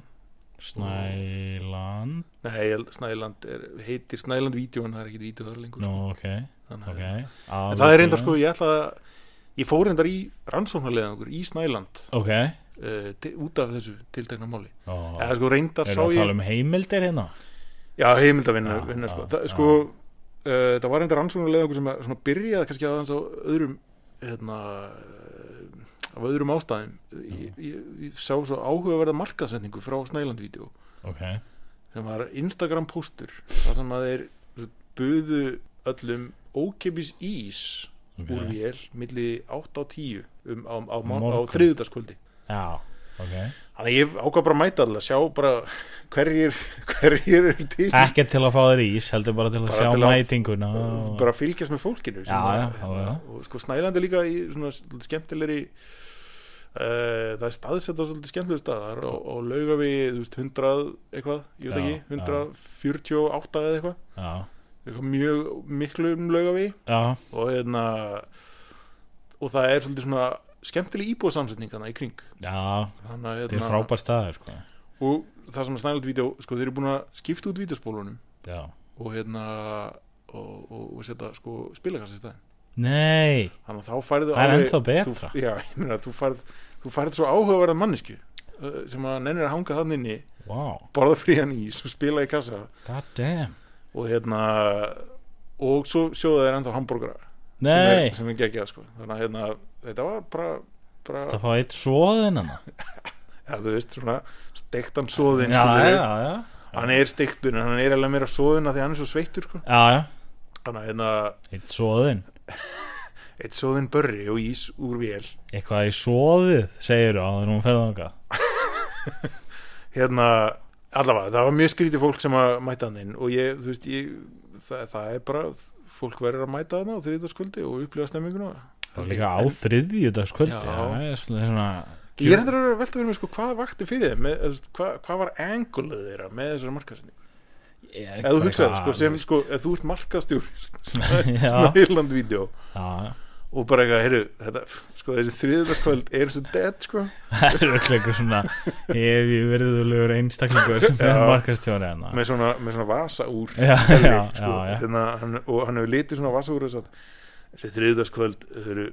Speaker 5: Snæland
Speaker 6: nei, Snæland er, heitir Snæland vítjó en það er ekkit vítjó þar lengur
Speaker 5: Nú,
Speaker 6: sko.
Speaker 5: ok,
Speaker 6: Þannig að-
Speaker 5: ok
Speaker 6: en það er reyndar sko, ég ætla að ég fór reyndar í rannsóknarleðangur í Snæland
Speaker 5: Ok
Speaker 6: uh, til, út af þessu tiltekna máli
Speaker 5: Ó,
Speaker 6: eða sko reyndar sá
Speaker 5: Erum við að
Speaker 6: ég
Speaker 5: tala um heimildir hérna?
Speaker 6: Já, heimildavinna
Speaker 5: Já,
Speaker 6: vinna, sko.
Speaker 5: já,
Speaker 6: Það,
Speaker 5: já.
Speaker 6: sko uh, það var einhver rannsóknulega okkur sem að, svona, byrjaði kannski aðeins á öðrum hérna, uh, af öðrum ástæðum ég, ég, ég sá svo áhugaverða markaðsendingu frá Snælandvídeó
Speaker 5: Ok
Speaker 6: sem var Instagram póstur það sem að þeir sem sagt, buðu öllum ókepis ís
Speaker 5: Ok.
Speaker 6: úr vél milli 8 á 10 um, á, á, á, á
Speaker 5: Morgun.
Speaker 6: þriðutaskvöldi
Speaker 5: Já, ok
Speaker 6: Þannig að ég ákvað bara að mæta allir að sjá bara hverjir, hverjir er til
Speaker 5: Ekki til að fá þér ís, heldur bara til að
Speaker 6: Bara
Speaker 5: sjá
Speaker 6: til að-
Speaker 5: mætinguna og-
Speaker 6: bara fylgjast með fólkinu sem
Speaker 5: Já,
Speaker 6: að-
Speaker 5: já, já,
Speaker 6: hérna,
Speaker 5: já.
Speaker 6: og sko Snæland er líka í svona svolítið skemmtilegri uh, það er staðsett á svolítið skemmtilegri staðar og, og lauga við, þú veist, 100 eitthvað, ég veit
Speaker 5: Já,
Speaker 6: ekki 148 eða eitthvað
Speaker 5: Já,
Speaker 6: eitthvað mjög miklu um laugaví
Speaker 5: já,
Speaker 6: og, hérna, og það er svolítið svona skemmtileg íbúðsamsetningana í kring
Speaker 5: já,
Speaker 6: Þannig, að, hérna,
Speaker 5: þetta er frábær staður sko.
Speaker 6: og það sem er snælt vídeo sko, þeir eru búin að skipta út vídeospólunum
Speaker 5: já,
Speaker 6: og, hérna, og, og, og setja sko, spilakassa í staðin
Speaker 5: nei
Speaker 6: þannig að þá færðu
Speaker 5: Það er
Speaker 6: alveg-
Speaker 5: ennþá betra.
Speaker 6: þú, já, ég meina, þú, færð, þú færð svo áhugaverða mannesku uh, sem að nennir að hanga þann inni
Speaker 5: wow,
Speaker 6: borða frían ís og spila í kassa
Speaker 5: god damn
Speaker 6: og hérna og svo sjóða þeir ennþá hambúrgara
Speaker 5: nei,
Speaker 6: sem er geggjað sko þannig að hérna, þetta var bara, bara
Speaker 5: það fá eitt hérna. svoðin hann
Speaker 6: ja, þú veist svona steiktan svoðin
Speaker 5: já, já,
Speaker 6: skilurðu.
Speaker 5: já, já,
Speaker 6: hann er steiktun en hann er alveg meira svoðin af því að hann er svo sveittur sko.
Speaker 5: já, já.
Speaker 6: þannig að hérna,
Speaker 5: eitt svoðin
Speaker 6: eitt svoðin börri og ís úr vél
Speaker 5: eitthvað í svoðið, segir á þegar hún ferða þangað
Speaker 6: hérna allavega, það var mjög skrítið fólk sem að mæta hann inn og ég, þú veist, ég það, það er bara, fólk verður að mæta hann á þriðdagskvöldi og upplifa stemminguna
Speaker 5: það var líka á þriðjudagskvöldi
Speaker 6: Já.
Speaker 5: það er svona, svona
Speaker 6: Ég er hendur að velta fyrir mig sko hvað vakti fyrir þeim með, eða, þú veist, hvað, hvað var angulið þeirra með þessari markaðsendingu
Speaker 5: Ég-
Speaker 6: eða þú
Speaker 5: bara
Speaker 6: hugsaði
Speaker 5: eitthvað-
Speaker 6: sko sem sko eða þú ert markaðstjóri
Speaker 5: Já.
Speaker 6: Snæland vídeo
Speaker 5: já,
Speaker 6: og bara eitthvað, heyrðu, þetta sko þessi þriðdagskvöld er svo dead sko
Speaker 5: það er öll eitthvað svona ef ég verðið að lögur einstaklingur sem hérna. er
Speaker 6: Já.
Speaker 5: markastjóri hann
Speaker 6: með svona, með svona vasa úr
Speaker 5: Já,
Speaker 6: Helvi,
Speaker 5: já,
Speaker 6: sko,
Speaker 5: já, já.
Speaker 6: Þannig, að hann, og hann hefur litið svona vasa úr og sagt, þessi þriðudagskvöld þau eru,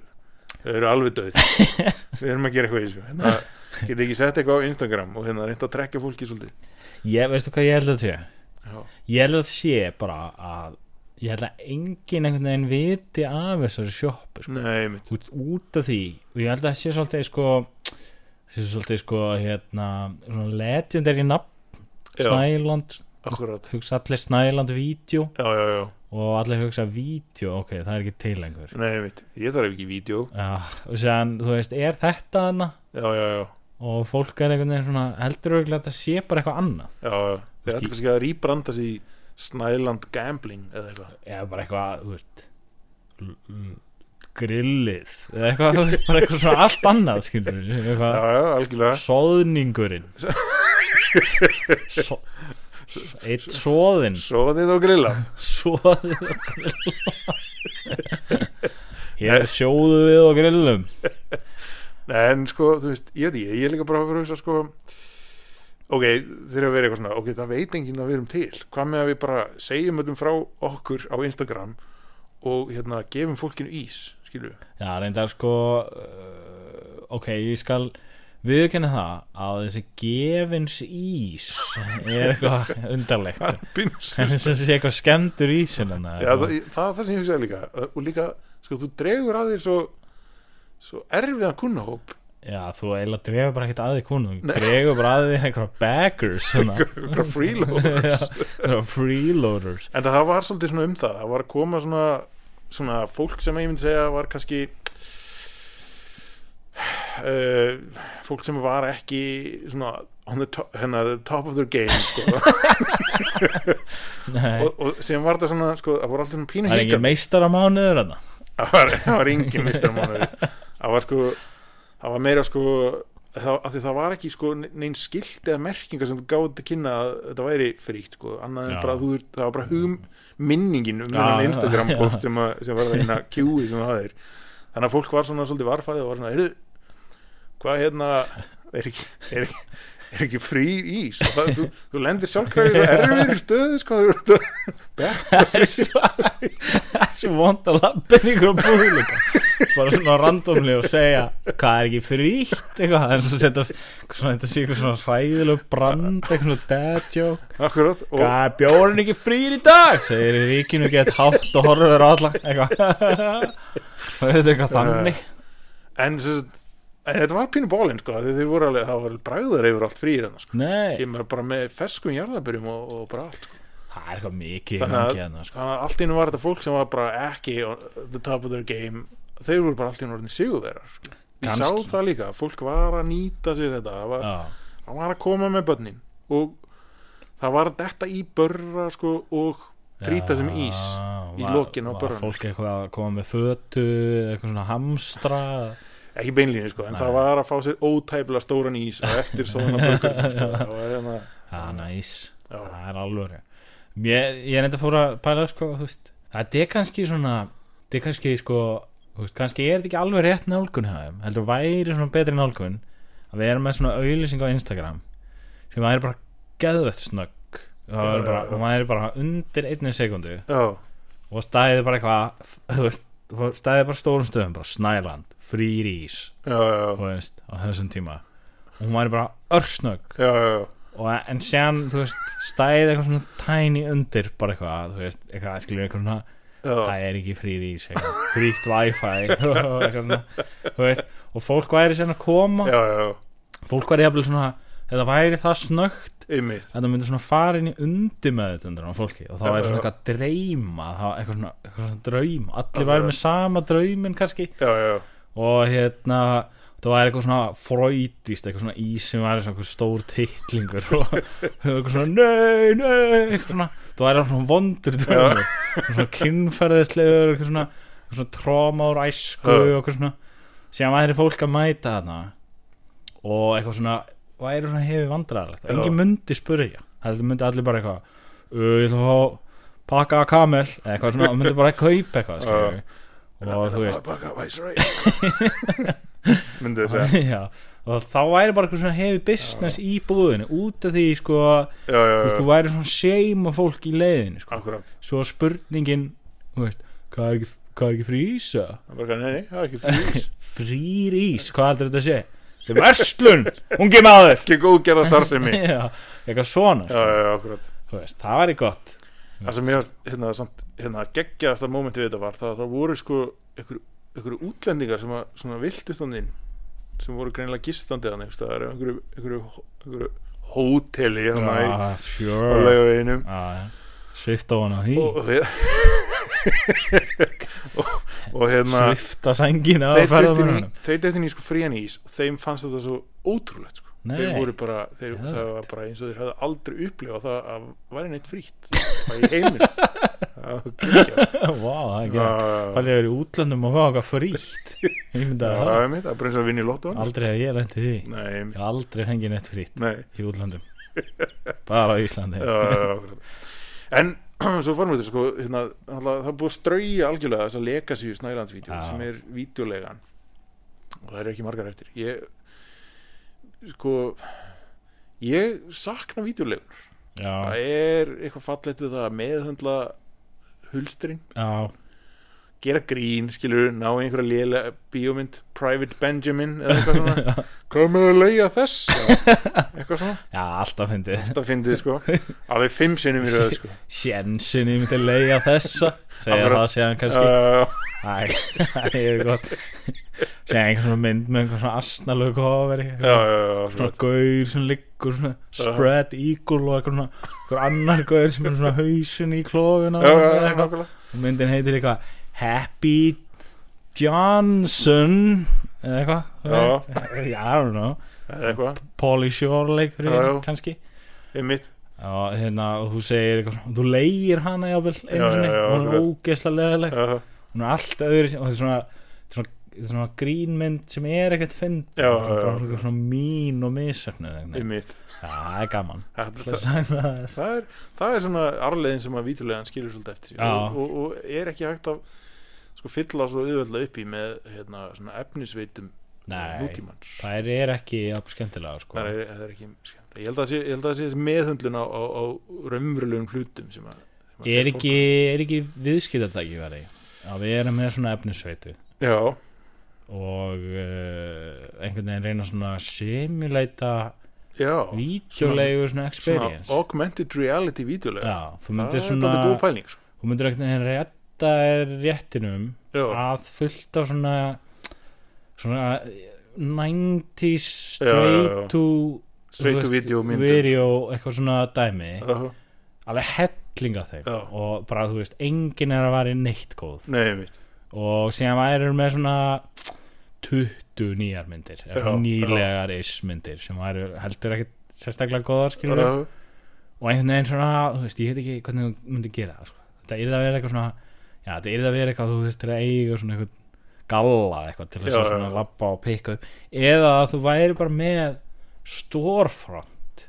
Speaker 6: þau eru alveg döð við erum að gera eitthvað í þessu hérna, geti ekki sett eitthvað á Instagram og hérna reynda að trekja fólki svolítið
Speaker 5: ég, veistu hvað ég held að sé
Speaker 6: já,
Speaker 5: ég held að sé bara að ég held að engin einhvern veginn viti af þessari sjoppu sko.
Speaker 6: nei mitt
Speaker 5: út, út af því og ég held að það sé svolítið sko sé svolítið sko hérna svona legendary nafn
Speaker 6: já,
Speaker 5: Snæland,
Speaker 6: akkurat
Speaker 5: hugsa allir Snæland vídeo
Speaker 6: já, já, já,
Speaker 5: og allir hugsa vídeo, ok, það er ekki til einhver
Speaker 6: nei mitt, ég þarf ekki vídeo
Speaker 5: já, og séðan, þú veist, er þetta hana
Speaker 6: já, já, já,
Speaker 5: og fólk er einhvern veginn svona heldur örugglega að þetta sé bara eitthvað annað
Speaker 6: já, já. þeir ættu kannski að rýbranda sig í Snæland Gambling eða eitthvað
Speaker 5: eða bara eitthvað, þú veist l- l- grillið eða eitthvað, þú veist, bara eitthvað svona allt annað skilur við,
Speaker 6: já,
Speaker 5: eitthvað
Speaker 6: já, algjörlega
Speaker 5: soðningurinn so, so- eitt soðin
Speaker 6: soðið og grilla
Speaker 5: soðin og grill hér sjóðu við og grillum
Speaker 6: Nei, en sko, þú veist, ég veit ekki, ég er líka bara að fyrir að hugsa sko ok, þeir eru að vera eitthvað svona ok, það veit enginn að við erum til hvað með að við bara segjum öllum frá okkur á Instagram og hérna gefum fólkinu ís, skilju
Speaker 5: Já, reyndar sko uh, Ok, ég skal viðkenna það að þessi gefins ís er eitthvað undarlegt
Speaker 6: það er
Speaker 5: en
Speaker 6: pinnslust
Speaker 5: þess að sé eitthvað skemmtur ísinn hann
Speaker 6: Já, það, ég- það, er það sem ég hugsaði líka og líka, sko, þú dregur að þér svo svo erfiðan kunnahóp
Speaker 5: Já, þú eiginlega dregur bara ekkert að því konu þú dregur bara að því eitthvað baggers svona.
Speaker 6: ykkur freeloaders
Speaker 5: Já, svona freeloaders
Speaker 6: en það var svolítið svona um það það var að koma svona, svona fólk sem ég myndi segja var kannski uh, fólk sem var ekki svona on the top, hérna, the top of their game sko.
Speaker 5: Nei,
Speaker 6: og, og sem var það svona sko, það voru alltaf svona pínu
Speaker 5: það er
Speaker 6: hikandi.
Speaker 5: engin meistar á mánuður hann
Speaker 6: það var, það var engin mistarmánuður það var sko það var meira sko það, af því það var ekki sko neinn skilt eða merkingar sem þú gáði til kynna að þetta væri fríkt sko, annað
Speaker 5: Já.
Speaker 6: en bara þú þurft- það var bara hum minningin um
Speaker 5: Já,
Speaker 6: þennan
Speaker 5: já,
Speaker 6: Instagram
Speaker 5: já.
Speaker 6: post sem, að, sem var það eina kjúi sem það er þannig að fólk var svona svolítið varfæðið og var svona, heyrðu, hvað hérna er ekki, er ekki er ekki frí ís Og það, þú, þú lendir sjálfkræðið og erfir stöðu sko, þú ert að-
Speaker 5: Það er svo Það er svo vond að lappin ykkur á búðleika bara svona randomli og segja hvað er ekki frítt eitthvað það er svo setja svona þetta sé eitthvað svona hræðileg brand eitthvað svona dad joke
Speaker 6: akkurat og,
Speaker 5: hvað er bjórin ekki frýr í dag segir í ríkinu gett hátt og horfur á alla eitthvað það er þetta eitthvað þannig
Speaker 6: en, sem sagt, en þetta var pínu bólinn sko, þegar þeir voru alveg, það var bræður yfir allt fríir hérna, sko.
Speaker 5: nei
Speaker 6: ég með bara með feskum jarðabyrjum og, og bara allt sko.
Speaker 5: það er eitthvað mikið í
Speaker 6: þannig, að,
Speaker 5: gangi hérna sko.
Speaker 6: þannig að allt innu var þetta fólk sem var bara ekki on the top of their game þeir voru bara allt innu orðin sigurverar sko. ég sá
Speaker 5: Kannski.
Speaker 6: það líka, fólk var að nýta sér þetta, það var,
Speaker 5: Já.
Speaker 6: það var að koma með börnin og það var þetta í börra sko, og trýta sem ís í
Speaker 5: var-
Speaker 6: lokin á sko.
Speaker 5: var
Speaker 6: börrunum.
Speaker 5: fólk eitthvað að koma með fötu eitthvað svona hamstra
Speaker 6: ekki beinlínu sko, en það var að fá sér ótæpla stóran ís á eftir svona burgur sko. það var hérna
Speaker 5: Já, næs,
Speaker 6: Já.
Speaker 5: það er alveg Mér, ég er enda fór að pæla sko, þú veist, það er kannski svona það er kannski sko þú veist, kannski er þetta ekki alveg rétt nálgun hjá þeim heldur væri svona betri nálgun að við erum með svona auðlýsing á Instagram sem væri bara geðvett snögg það væri bara, hún væri bara undir einni sekundu
Speaker 6: já,
Speaker 5: og stæði bara eitthvað þú veist, stæði bara stórum stöðum bara Snæland, Free Rís
Speaker 6: já, já,
Speaker 5: þú veist, á þessum tíma og hún væri bara örsnögg
Speaker 6: já, já, já.
Speaker 5: og en séðan, þú veist, stæði eitthvað svona tiny undir, bara eitthvað þú veist, eitthvað, skilur eitthvað svona
Speaker 6: Já,
Speaker 5: það er ekki frýr ís, eitthvað, fríkt wifi og eitthvað svona, þú veist og fólk væri sérna að koma
Speaker 6: já, já, já,
Speaker 5: fólk væri jafnvel svona, þetta væri það snögt
Speaker 6: einmitt
Speaker 5: þetta myndi svona fara inn í undir með á fólki og þá
Speaker 6: Já,
Speaker 5: væri svona
Speaker 6: já.
Speaker 5: eitthvað að dreyma þá eitthvað svona, eitthvað svona draum
Speaker 6: Já,
Speaker 5: allir væri
Speaker 6: já.
Speaker 5: með sama drauminn kannski
Speaker 6: Já, já,
Speaker 5: og hérna það var eitthvað svona fröydist eitthvað svona ís sem var svona einhver stór titlingur og eitthvað svona nei, nei, eitthvað svona það var svona vondur draumur svona kynferðislegur eitthvað svona, eitthvað svona tróma úr æsku
Speaker 6: Já.
Speaker 5: og eitthvað svona síðan væri fólk að mæta þarna og eitthvað svona væri svona hefur vandræðarlegt
Speaker 6: Já.
Speaker 5: engin myndi spurja það myndi allir bara eitthvað "Ö, ég ætla að fá pakka að kamel eða eitthvað svona og myndi bara kaupa eitthvað skilurðu. og þú veist
Speaker 6: Baka, væs, right Myndi þess að
Speaker 5: já, og þá væri bara eitthvað svona hefi business í búðinu út af því sko,
Speaker 6: Já, já,
Speaker 5: þú veist, þú
Speaker 6: já,
Speaker 5: væri svona seima fólk í leiðinu sko.
Speaker 6: akkurat
Speaker 5: svo spurningin, þú veist hvað er ekki, hvað er ekki frí ís eða?
Speaker 6: Það bara, nei, nei, það er ekki fyrir
Speaker 5: frýr ís, hvað heldur þetta að sé þetta er verslun, ungi maður
Speaker 6: Ekki góð gerða starfsemi Já,
Speaker 5: já, eitthvað svona
Speaker 6: já,
Speaker 5: sko.
Speaker 6: já, akkurat
Speaker 5: Þú veist, það væri gott
Speaker 6: Það sem ég varst, hérna, samt, hérna, geggjaðasta mómenti við þetta var það að það voru sko ykkur, ykkur útlendingar sem að svona viltist hann inn sem voru greinilega gistandi hann einhvers staðar, á einhverju, einhverju, einhverju hóteli hérna í
Speaker 5: ah,
Speaker 6: á
Speaker 5: sure
Speaker 6: laugaveginum
Speaker 5: ah, svifta á hana því
Speaker 6: og, og, og, og hérna
Speaker 5: svifta sængina á
Speaker 6: þeir duttin í,
Speaker 5: ferðamönnunum.
Speaker 6: þeir duttin í sko frían ís og þeim fannst þetta svo ótrúlegt sko.
Speaker 5: Nei.
Speaker 6: þeir voru bara, þeir,
Speaker 5: Geðveikt.
Speaker 6: það var bara eins og þeir hafði aldrei upplifað það að væri neitt frítt það í heiminu það var geggjað, sko.
Speaker 5: Vá, það er ekki
Speaker 6: það
Speaker 5: Það er í útlöndum og fá eitthvað frítt Ég myndi að
Speaker 6: það
Speaker 5: það
Speaker 6: er mitt, það brennst að vinna í lotto
Speaker 5: Aldrei hef ég lent í því Ég
Speaker 6: sko. nei, einmitt.
Speaker 5: hef aldrei fengið neitt frítt
Speaker 6: nei
Speaker 5: í útlöndum Bara á Íslandi
Speaker 6: já, já, já, akkurat. en svo farum við þetta sko hérna, alltaf, það er búið að strauja algjörlega þess að leka sig í snælandsvídeó
Speaker 5: Já.
Speaker 6: sem er vídeolegan og það eru ekki margar eftir ég sko ég sakna vídeolegunar
Speaker 5: Já,
Speaker 6: það er eitthvað fallegt við það að meðhundla hulstrin,
Speaker 5: já,
Speaker 6: gera grín skilur, ná í einhverja lélega bíómynd Private Benjamin eða eitthvað svona komið að leiða þess eitthvað svona,
Speaker 5: já, alltaf fyndið
Speaker 6: þetta fyndið sko alveg fimm sinnum í röð sko
Speaker 5: Sjensin ég myndi leiða þessa Segja
Speaker 6: Akkurat.
Speaker 5: það séðan kannski
Speaker 6: uh,
Speaker 5: Æ, Það er gott Segja einhver svona mynd með einhver svona asnalög kofari
Speaker 6: já, já, já, já,
Speaker 5: Svona gaur sem liggur svona Spread eagle og eitthvað svona Einhver annar gaur sem er svona hausin í klófina
Speaker 6: já, já,
Speaker 5: eða
Speaker 6: já,
Speaker 5: eitthvað.
Speaker 6: nákvæmlega.
Speaker 5: og myndin heitir eitthvað Happy Johnson eða eitthvað þú
Speaker 6: Já.
Speaker 5: veist. Já, I don't know
Speaker 6: Eða eitthvað,
Speaker 5: Polly Shore leikur í
Speaker 6: Já,
Speaker 5: henni,
Speaker 6: já.
Speaker 5: kannski
Speaker 6: einmitt
Speaker 5: og hérna og þú segir eitthvað svona- þú leigir hana jáfnvel einu
Speaker 6: Já, já,
Speaker 5: sinni
Speaker 6: já,
Speaker 5: og hún er
Speaker 6: akkurat.
Speaker 5: ógeðslega leðileg
Speaker 6: já,
Speaker 5: hún er allt öðru og þetta er svona, þetta er svona, þetta er svona grínmynd sem er ekkert fynd
Speaker 6: Já,
Speaker 5: svona,
Speaker 6: já, já.
Speaker 5: svona, svona mín og misöfnuð einhvern veginn.
Speaker 6: einmitt
Speaker 5: Já, það er gaman
Speaker 6: það,
Speaker 5: Það
Speaker 6: það,
Speaker 5: sagði það.
Speaker 6: það, er, það er svona arlegin sem að vítulegan skilur svolítið eftir sig
Speaker 5: Já.
Speaker 6: og, og, og er ekki hægt að sko fylla svo auðvöldlega upp í með hérna, svona efnisveitum
Speaker 5: Nei,
Speaker 6: nútímans það er,
Speaker 5: þær er ekki jafn skemmtilega sko.
Speaker 6: það er, ekki skemmtilega. ég held að það sé- ég held að það sé þessi meðhundlun á, á, á raumverulegum hlutum sem að, sem að
Speaker 5: er
Speaker 6: fer
Speaker 5: ekki, er ekki viðskiptatæki verið að við erum með svona efnisveitu
Speaker 6: fólk- já,
Speaker 5: og uh, einhvern veginn reyna svona að simuleita
Speaker 6: já,
Speaker 5: vítjulegu svona
Speaker 6: svona
Speaker 5: experience
Speaker 6: augmented reality vítulega
Speaker 5: já, þú
Speaker 6: það
Speaker 5: myndir
Speaker 6: er
Speaker 5: svona
Speaker 6: þetta góð pæling sko.
Speaker 5: þú myndir einhvern veginn rétta þér réttinum
Speaker 6: já,
Speaker 5: að fullt af svona svona 90s
Speaker 6: Já, já, já.
Speaker 5: straight to
Speaker 6: straight
Speaker 5: þú veist,
Speaker 6: to video myndum
Speaker 5: video eitthvað svona dæmi
Speaker 6: Já,
Speaker 5: alveg hellinga þeim
Speaker 6: Já.
Speaker 5: og bara þú veist, enginn er að vera neitt góð
Speaker 6: nei, einmitt
Speaker 5: og síðan væri hún með svona 20 nýjar myndir eða svona
Speaker 6: Já,
Speaker 5: nýlegar ismyndir sem væri heldur ekkit sérstaklega góðar skilur
Speaker 6: já,
Speaker 5: og einhvern veginn svona, þú veist, ég veit ekki hvernig þú myndir gera það, sko. þetta yrði að vera eitthvað svona já, þetta yrði að vera eitthvað þú þurftir að eiga svona eitthvað galla eitthvað til þess
Speaker 6: Já,
Speaker 5: að
Speaker 6: já,
Speaker 5: svona
Speaker 6: já.
Speaker 5: labba og pikka upp eða að þú væri bara með storefront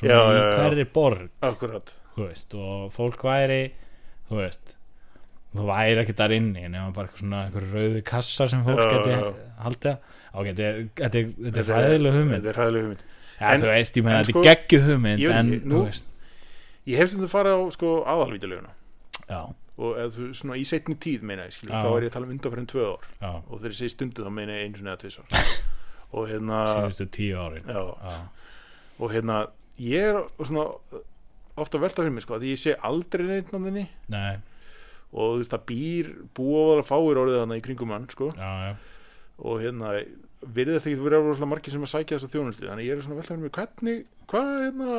Speaker 5: svona
Speaker 6: Já,
Speaker 5: í
Speaker 6: já, já.
Speaker 5: hverri borg
Speaker 6: akkurat
Speaker 5: þú veist, og fólk væri þú veist þú væri ekki þar inni nema bara eitthvað svona einhver rauði kassa sem fólk
Speaker 6: Já,
Speaker 5: geti
Speaker 6: já.
Speaker 5: haldið á þetta er- þetta er- þetta er hæðileg hugmynd
Speaker 6: Þetta er hræðileg hugmynd
Speaker 5: ja,
Speaker 6: en-
Speaker 5: þú veist, ég meina
Speaker 6: en
Speaker 5: þetta
Speaker 6: sko,
Speaker 5: er geggjuð hugmynd
Speaker 6: ég veit
Speaker 5: en
Speaker 6: ekki,
Speaker 5: þú
Speaker 6: nú-
Speaker 5: veist,
Speaker 6: Ég hef sem þú farið á sko aðalvítuleguna
Speaker 5: já,
Speaker 6: og eða þú svona í setni tíð meina ég skilur
Speaker 5: Já.
Speaker 6: þá er ég að tala um undanferðin tvö ár
Speaker 5: já,
Speaker 6: og þegar ég segi stundu þá meina ég einu sinni eða tvisvar og hérna
Speaker 5: síðustu tíu árin
Speaker 6: já,
Speaker 5: já,
Speaker 6: og hérna ég er svona ofta velta fyrir mig sko að ég sé aldrei neitt á þenni
Speaker 5: nei,
Speaker 6: og þú veist það býr búofala fáir orðið þarna í kringum hann sko
Speaker 5: já, já
Speaker 6: og hérna virðist ekki verið rosalega margir sem að sækja þessu þjónustu þannig ég er svona velta fyrir mig hvernig hvað hérna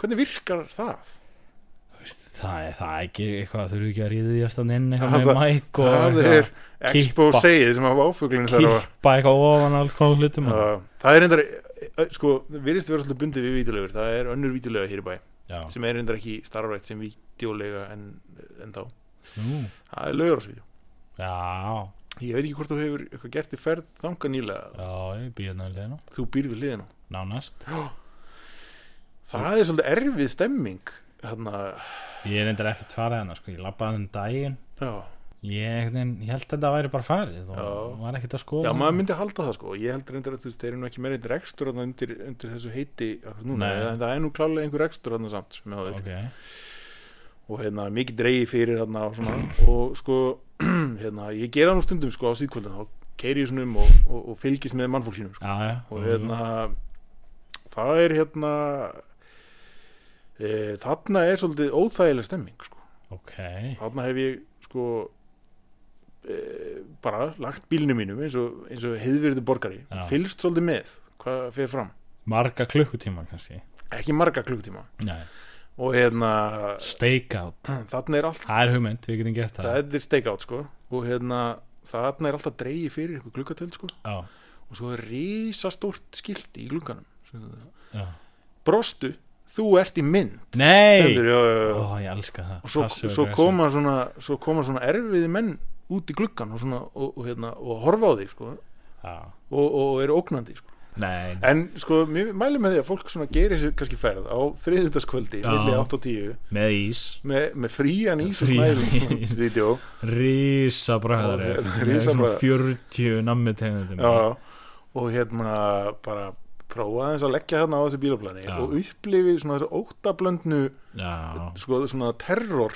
Speaker 6: hvernig virkar það
Speaker 5: Þú veist, það er það er ekki eitthvað þurfu ekki að ríðjast að inn
Speaker 6: Það-
Speaker 5: eitthvað með mæk og
Speaker 6: það er
Speaker 5: eitthvað
Speaker 6: exposeið sem hafa áfuglinn þar og
Speaker 5: kippa eitthvað ofan alls konar hlutum
Speaker 6: Já, það er reyndar eh, sko, virðist vera svolítið bundið við vítulegur það er önnur vítulega hér í bæ
Speaker 5: já,
Speaker 6: sem er reyndar ekki starfrætt sem vítulega en, en þá,
Speaker 5: nú,
Speaker 6: það er lögur á svíðu
Speaker 5: já
Speaker 6: ég veit ekki hvort þú hefur eitthvað gert í ferð þanga nýlega,
Speaker 5: já, ég býð hérna við hliðina
Speaker 6: þú býr við hliðina
Speaker 5: nánast,
Speaker 6: það er svolítið erfið stemming hérna. þarna,
Speaker 5: ég er reyndar ekkert farið hana sko, ég labbaði um daginn
Speaker 6: já,
Speaker 5: ég, einhvern veginn- ég held að þetta væri bara farið og
Speaker 6: Já.
Speaker 5: var ekkert að skoða
Speaker 6: já maður myndi halda það sko, ég held reyndar að þú veist, þeir eru nú ekki meira eitthvað rekstur þarna undir, undir þessu heiti akkur núna,
Speaker 5: Nei.
Speaker 6: en það er nú klálega einhver rekstur þarna samt, sem hefur
Speaker 5: ok,
Speaker 6: og hérna mikið dreigi fyrir hérna og svona og sko hérna ég gera nú stundum sko á síðkvöldin þá keiri ég svona um og, og, og fylgist með mannfólkinu sko.
Speaker 5: já, já
Speaker 6: og hérna það er hérna e, þarna er svolítið óþægileg stemming sko.
Speaker 5: ok,
Speaker 6: þarna hef ég sko e, bara lagt bílinu mínum eins og, eins og heiðvirðu borgari
Speaker 5: Já.
Speaker 6: fylgst svolítið með hvað fyrir fram
Speaker 5: marga klukkutíma kannski
Speaker 6: ekki marga klukkutíma
Speaker 5: nei,
Speaker 6: og hérna
Speaker 5: stakeout,
Speaker 6: þarna er allt
Speaker 5: það er hugmynd við getum gert það,
Speaker 6: það er stakeout sko og hérna þarna er alltaf dreigi fyrir ykkur gluggatöld sko
Speaker 5: já,
Speaker 6: og svo er risastórt skilti í glugganum Sem sagt,
Speaker 5: já
Speaker 6: brostu, þú ert í mynd
Speaker 5: nei,
Speaker 6: stendur, já, já, já.
Speaker 5: ó, ég elska það
Speaker 6: og svo,
Speaker 5: Passive
Speaker 6: svo,
Speaker 5: aggressive.
Speaker 6: koma svona, svo koma svona erfiði menn út í gluggan og, svona, og, og, hérna, og horfa á þig sko
Speaker 5: já,
Speaker 6: og, og eru ógnandi sko.
Speaker 5: nei,
Speaker 6: en sko, mér mælum með því að fólk svona gerir sér kannski ferð á þriðutaskvöldi
Speaker 5: Já.
Speaker 6: milli 8 og 10
Speaker 5: með ís
Speaker 6: með, með frían ís og
Speaker 5: Frían
Speaker 6: snæðum
Speaker 5: ís.
Speaker 6: vídeo
Speaker 5: Rísa
Speaker 6: Ó,
Speaker 5: bræðar
Speaker 6: risa bragðar.
Speaker 5: 40 nammi tegundum
Speaker 6: já, já. og hérna bara prófa aðeins að leggja hérna á þessu bílaplani
Speaker 5: Já.
Speaker 6: og upplifi svona þessu óttablöndnu
Speaker 5: já,
Speaker 6: sko, svona terror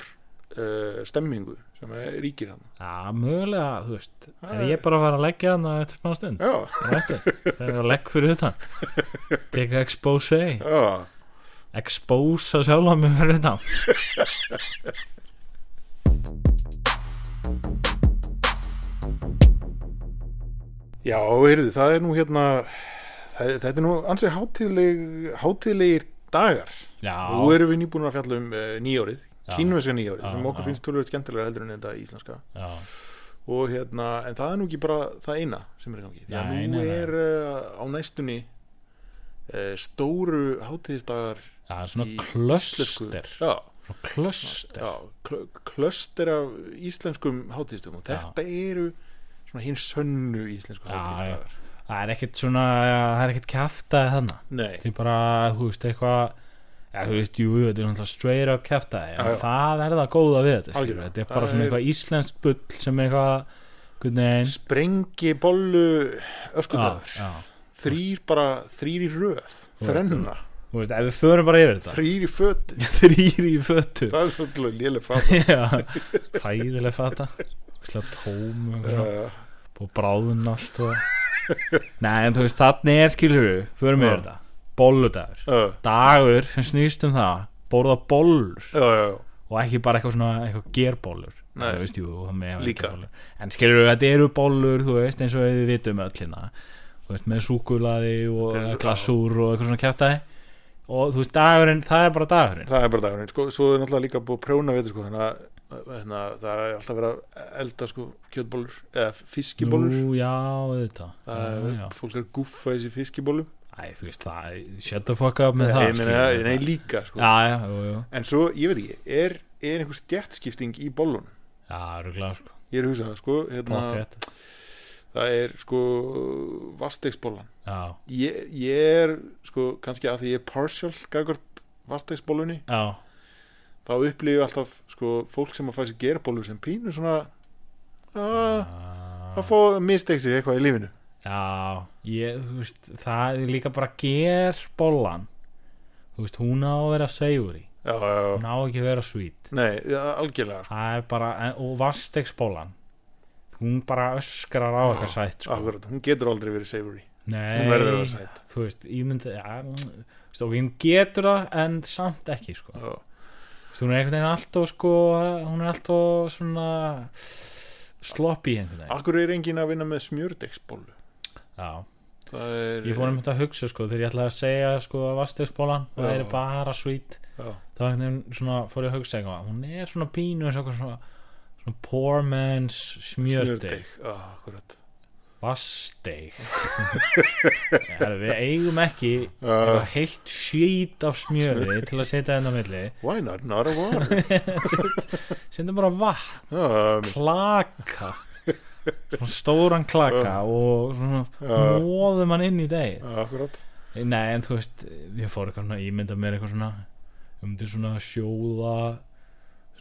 Speaker 6: uh, stemmingu sem er ríkir hann
Speaker 5: já, mögulega þú veist, er
Speaker 6: Það
Speaker 5: ég bara að fara að leggja hana eftir smá stund,
Speaker 6: já,
Speaker 5: bara eftir þegar ég legg fyrir utan teka expose,
Speaker 6: já,
Speaker 5: expose sjálf að mér fyrir utan
Speaker 6: já, heyrðu það er nú hérna það, þetta er nú ansið hátíðleg, hátíðlegir dagar nú
Speaker 5: já,
Speaker 6: erum við nýbúin að fjalla um uh, nýjórið
Speaker 5: Já.
Speaker 6: kínveska nýjórið
Speaker 5: Já,
Speaker 6: sem okkur
Speaker 5: já.
Speaker 6: finnst tölvöld skemmtilega heldur en þetta íslenska
Speaker 5: já,
Speaker 6: og hérna, en það er nú ekki bara það eina sem er í gangi, því að
Speaker 5: Nei, nei,
Speaker 6: nú
Speaker 5: nei.
Speaker 6: er uh, á næstunni uh, stóru hátíðisdagar
Speaker 5: það er svona
Speaker 6: í íslensku-
Speaker 5: klöster
Speaker 6: já,
Speaker 5: svona klöster,
Speaker 6: já, kl klöster af íslenskum hátíðistum og
Speaker 5: Já.
Speaker 6: þetta eru svona hinn sönnu íslensku
Speaker 5: Já,
Speaker 6: hátíðisdagar
Speaker 5: það er ekkert svona það er ekkert kæftaði þannig
Speaker 6: nei,
Speaker 5: þetta er bara, þú veist, eitthvað Já, þú veist, jú, þetta er náttúrulega straight up kæftæði en
Speaker 6: Já, já.
Speaker 5: það er það góða við þetta skilur við.
Speaker 6: Algjörlega.
Speaker 5: þetta er bara
Speaker 6: Það
Speaker 5: svona
Speaker 6: er-
Speaker 5: eitthvað íslensk bull sem eitthvað, hvernig
Speaker 6: sprengi bollu
Speaker 5: Já,
Speaker 6: öskudagar,
Speaker 5: já.
Speaker 6: þrýr bara þrýr í röð, þrenna
Speaker 5: Þú veist, ef við förum bara yfir þetta
Speaker 6: þrýr í föt
Speaker 5: Þrýr í fötu
Speaker 6: það er svolítið lélega fram
Speaker 5: Já, hæðileg fata Slag tóm og eitthvað.
Speaker 6: uh,
Speaker 5: Búið bráðun allt og... Nei, en þú veist, þannig er skilur við Förum yfir
Speaker 6: Já.
Speaker 5: þetta Bolludagur
Speaker 6: uh,
Speaker 5: Dagur sem snýst um það Borða bollur
Speaker 6: já, já, já,
Speaker 5: Og ekki bara eitthvað svona eitthvað gerbólur
Speaker 6: Nei.
Speaker 5: þú veist, jú, það með að vera
Speaker 6: Líka.
Speaker 5: gerbollur. En skilur við, þetta eru bollur, þú veist, eins og við vitum öll hérna Þú veist, með súkulaði
Speaker 6: Þetta er
Speaker 5: og
Speaker 6: svo-
Speaker 5: glasúr og eitthvað svona kjæftæði Og þú veist, dagurinn, það er bara dagurinn
Speaker 6: það er bara dagurinn sko, svo er náttúrulega líka búið að prjóna við þetta, sko, þannig að hérna, það er alltaf verið að elda sko, kjötbólur eða fiskibólur
Speaker 5: Nú, já, auðvitað
Speaker 6: það
Speaker 5: Já,
Speaker 6: er,
Speaker 5: já.
Speaker 6: fólk er að gúffa þessi fiskibólum
Speaker 5: Æ, þú veist, það, shut the fuck up með það
Speaker 6: ég meina,
Speaker 5: skilur við.
Speaker 6: nei, líka sko.
Speaker 5: Já, já, jú, jú
Speaker 6: en svo, ég veit ekki, er, er einhver stjættskipting í bólun
Speaker 5: Já, rúglega, sko,
Speaker 6: ég er að hugsa það, sko hérna,
Speaker 5: pott rétt
Speaker 6: það er sko vastegsbólan
Speaker 5: Já,
Speaker 6: ég, ég er, sko, kannski að því ég er partial gagvart vastegsbólunni
Speaker 5: já,
Speaker 6: þá upplýðu alltaf sko, fólk sem að fæ sér gerabólu sem pínu svona "Ah, að að fá mistake sig eitthvað í lífinu
Speaker 5: Já, ég, þú veist, það er líka bara ger bollan Þú veist, hún á að vera savory
Speaker 6: já, já, já,
Speaker 5: Hún á ekki að vera sweet
Speaker 6: nei, já, algjörlega sko.
Speaker 5: Það er bara, en- og vastegsbollan Hún bara öskrar á eitthvað sætt sko.
Speaker 6: akkurat, Ah, hún getur aldrei verið savory
Speaker 5: Nei,
Speaker 6: hún verður að vera sætt
Speaker 5: þú veist, ég myndi ja, mm, þú veist, og hún getur það en samt ekki, sko
Speaker 6: já,
Speaker 5: Þú veist, hún er einhvern veginn alltof, sko hún er alltof svona sloppy einhvern veginn
Speaker 6: akkur er engin að vinna með smjördegsbólu
Speaker 5: Já
Speaker 6: það er
Speaker 5: Ég fór einmitt að hugsa sko þegar ég ætlaði að segja sko að vastegsbólan
Speaker 6: Já.
Speaker 5: væri bara sweet
Speaker 6: já,
Speaker 5: þá einhvern veginn svona fór ég að hugsa eitthvað hún er svona pínu eins og eitthvað svona, svona poor man's smjördeg
Speaker 6: smjördeg, já, akkurat
Speaker 5: vasteg Herra, við eigum ekki
Speaker 6: uh,
Speaker 5: eitthvað heilt skýt af smjöri til að setja þetta á milli
Speaker 6: why not, not a water
Speaker 5: setja bara vatn,
Speaker 6: já, um,
Speaker 5: klaka svona stóran klaka og svona
Speaker 6: Já.
Speaker 5: móðum hann inn í deg
Speaker 6: já, akkurat
Speaker 5: Nei, en þú veist, ég fór eitthvað svona, ég mynda mér eitthvað svona, um til svona sjóða,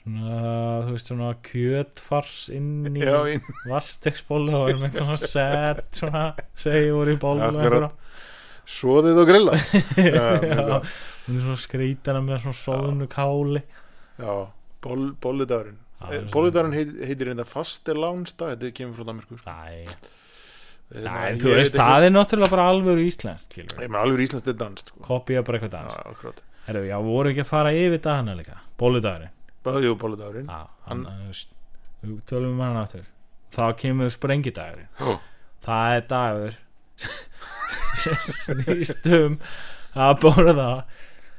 Speaker 5: svona, þú veist, svona kjötfars inn í
Speaker 6: já, inn,
Speaker 5: vastegsbólu og erum eitthvað svona set, svona, segjur í bólu og
Speaker 6: Akkurat.
Speaker 5: eitthvað.
Speaker 6: svoðið og grilla Já, mjög
Speaker 5: Já,
Speaker 6: gott.
Speaker 5: myndi svona skrítana með svona sóðunu káli.
Speaker 6: Eh, Já, ból, bóludagurinn
Speaker 5: Já, það er svo-
Speaker 6: Bóludagurinn heit, heitir einnig faste lánsta Þetta kemur frá Danmarku sko.
Speaker 5: Æ,
Speaker 6: Eh,
Speaker 5: nei,
Speaker 6: ég
Speaker 5: þú veist,
Speaker 6: veit
Speaker 5: það er náttúrulega bara alvöru íslenskt,
Speaker 6: ekki-
Speaker 5: skilur.
Speaker 6: Ég með alveg íslenskt er danst sko.
Speaker 5: Kopið bara eitthvað
Speaker 6: Já,
Speaker 5: dans.
Speaker 6: akkurat
Speaker 5: Herru, já, voru ekki að fara yfir dagana líka, bóludagurinn.
Speaker 6: Bara jú, bóludagurinn
Speaker 5: Já, hann, hann, hann, tölum við hann aftur. Þá kemur sprengidagurinn.
Speaker 6: Já,
Speaker 5: það er dagur sem snýst um að borða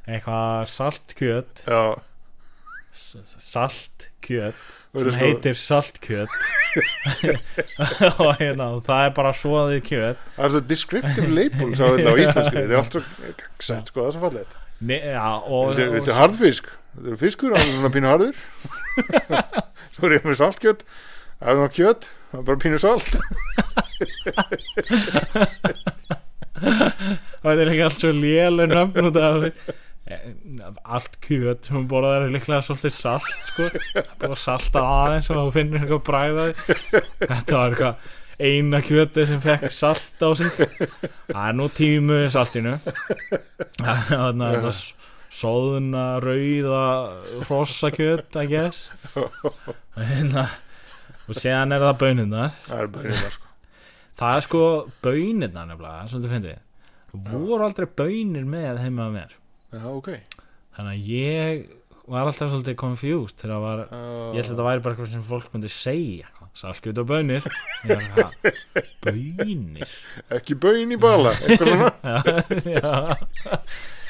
Speaker 5: eitthvað saltkjöt
Speaker 6: já
Speaker 5: s- saltkjöt
Speaker 6: Og eru
Speaker 5: sem
Speaker 6: sko-
Speaker 5: heitir saltkjöt og hérna, og það er bara svoðið kjöt
Speaker 6: Það er svo descriptive label sá þetta á íslensku Þetta er allt svo gagsætt sko, það er svo fallið
Speaker 5: Nei, já, og,
Speaker 6: Þetta
Speaker 5: og
Speaker 6: þetta er harðfisk Þetta er fiskur, það er svona pínu harður Svo er ég með saltkjöt Það er svona kjöt, það er bara pínu salt
Speaker 5: og þetta er líka allt svo lélu nöfn út af því allt kjöt sem hún borðar er líklega svolítið salt sko bara salta aðeins og þú finnir eitthvað bræða þetta var eitthvað eina kjöti sem fekk salt á sig það er nú tímu saltinu þannig að þetta sóðuna rauða hrossakjöt I guess og hérna og séðan er það bönunnar
Speaker 6: Það er bara hérna sko
Speaker 5: það er sko bönirnar nefnilega sem þú finnir voru aldrei bönir með heima að mér
Speaker 6: Já, ok
Speaker 5: þannig að ég var alltaf svolítið confused þegar það var ég
Speaker 6: Já,
Speaker 5: held að þetta væri bara eitthvað sem fólk myndi segja salkjöt og bönir Ég var eitthvað, bönir
Speaker 6: Ekki bauðin í bala Eitthvað svona
Speaker 5: Já, já.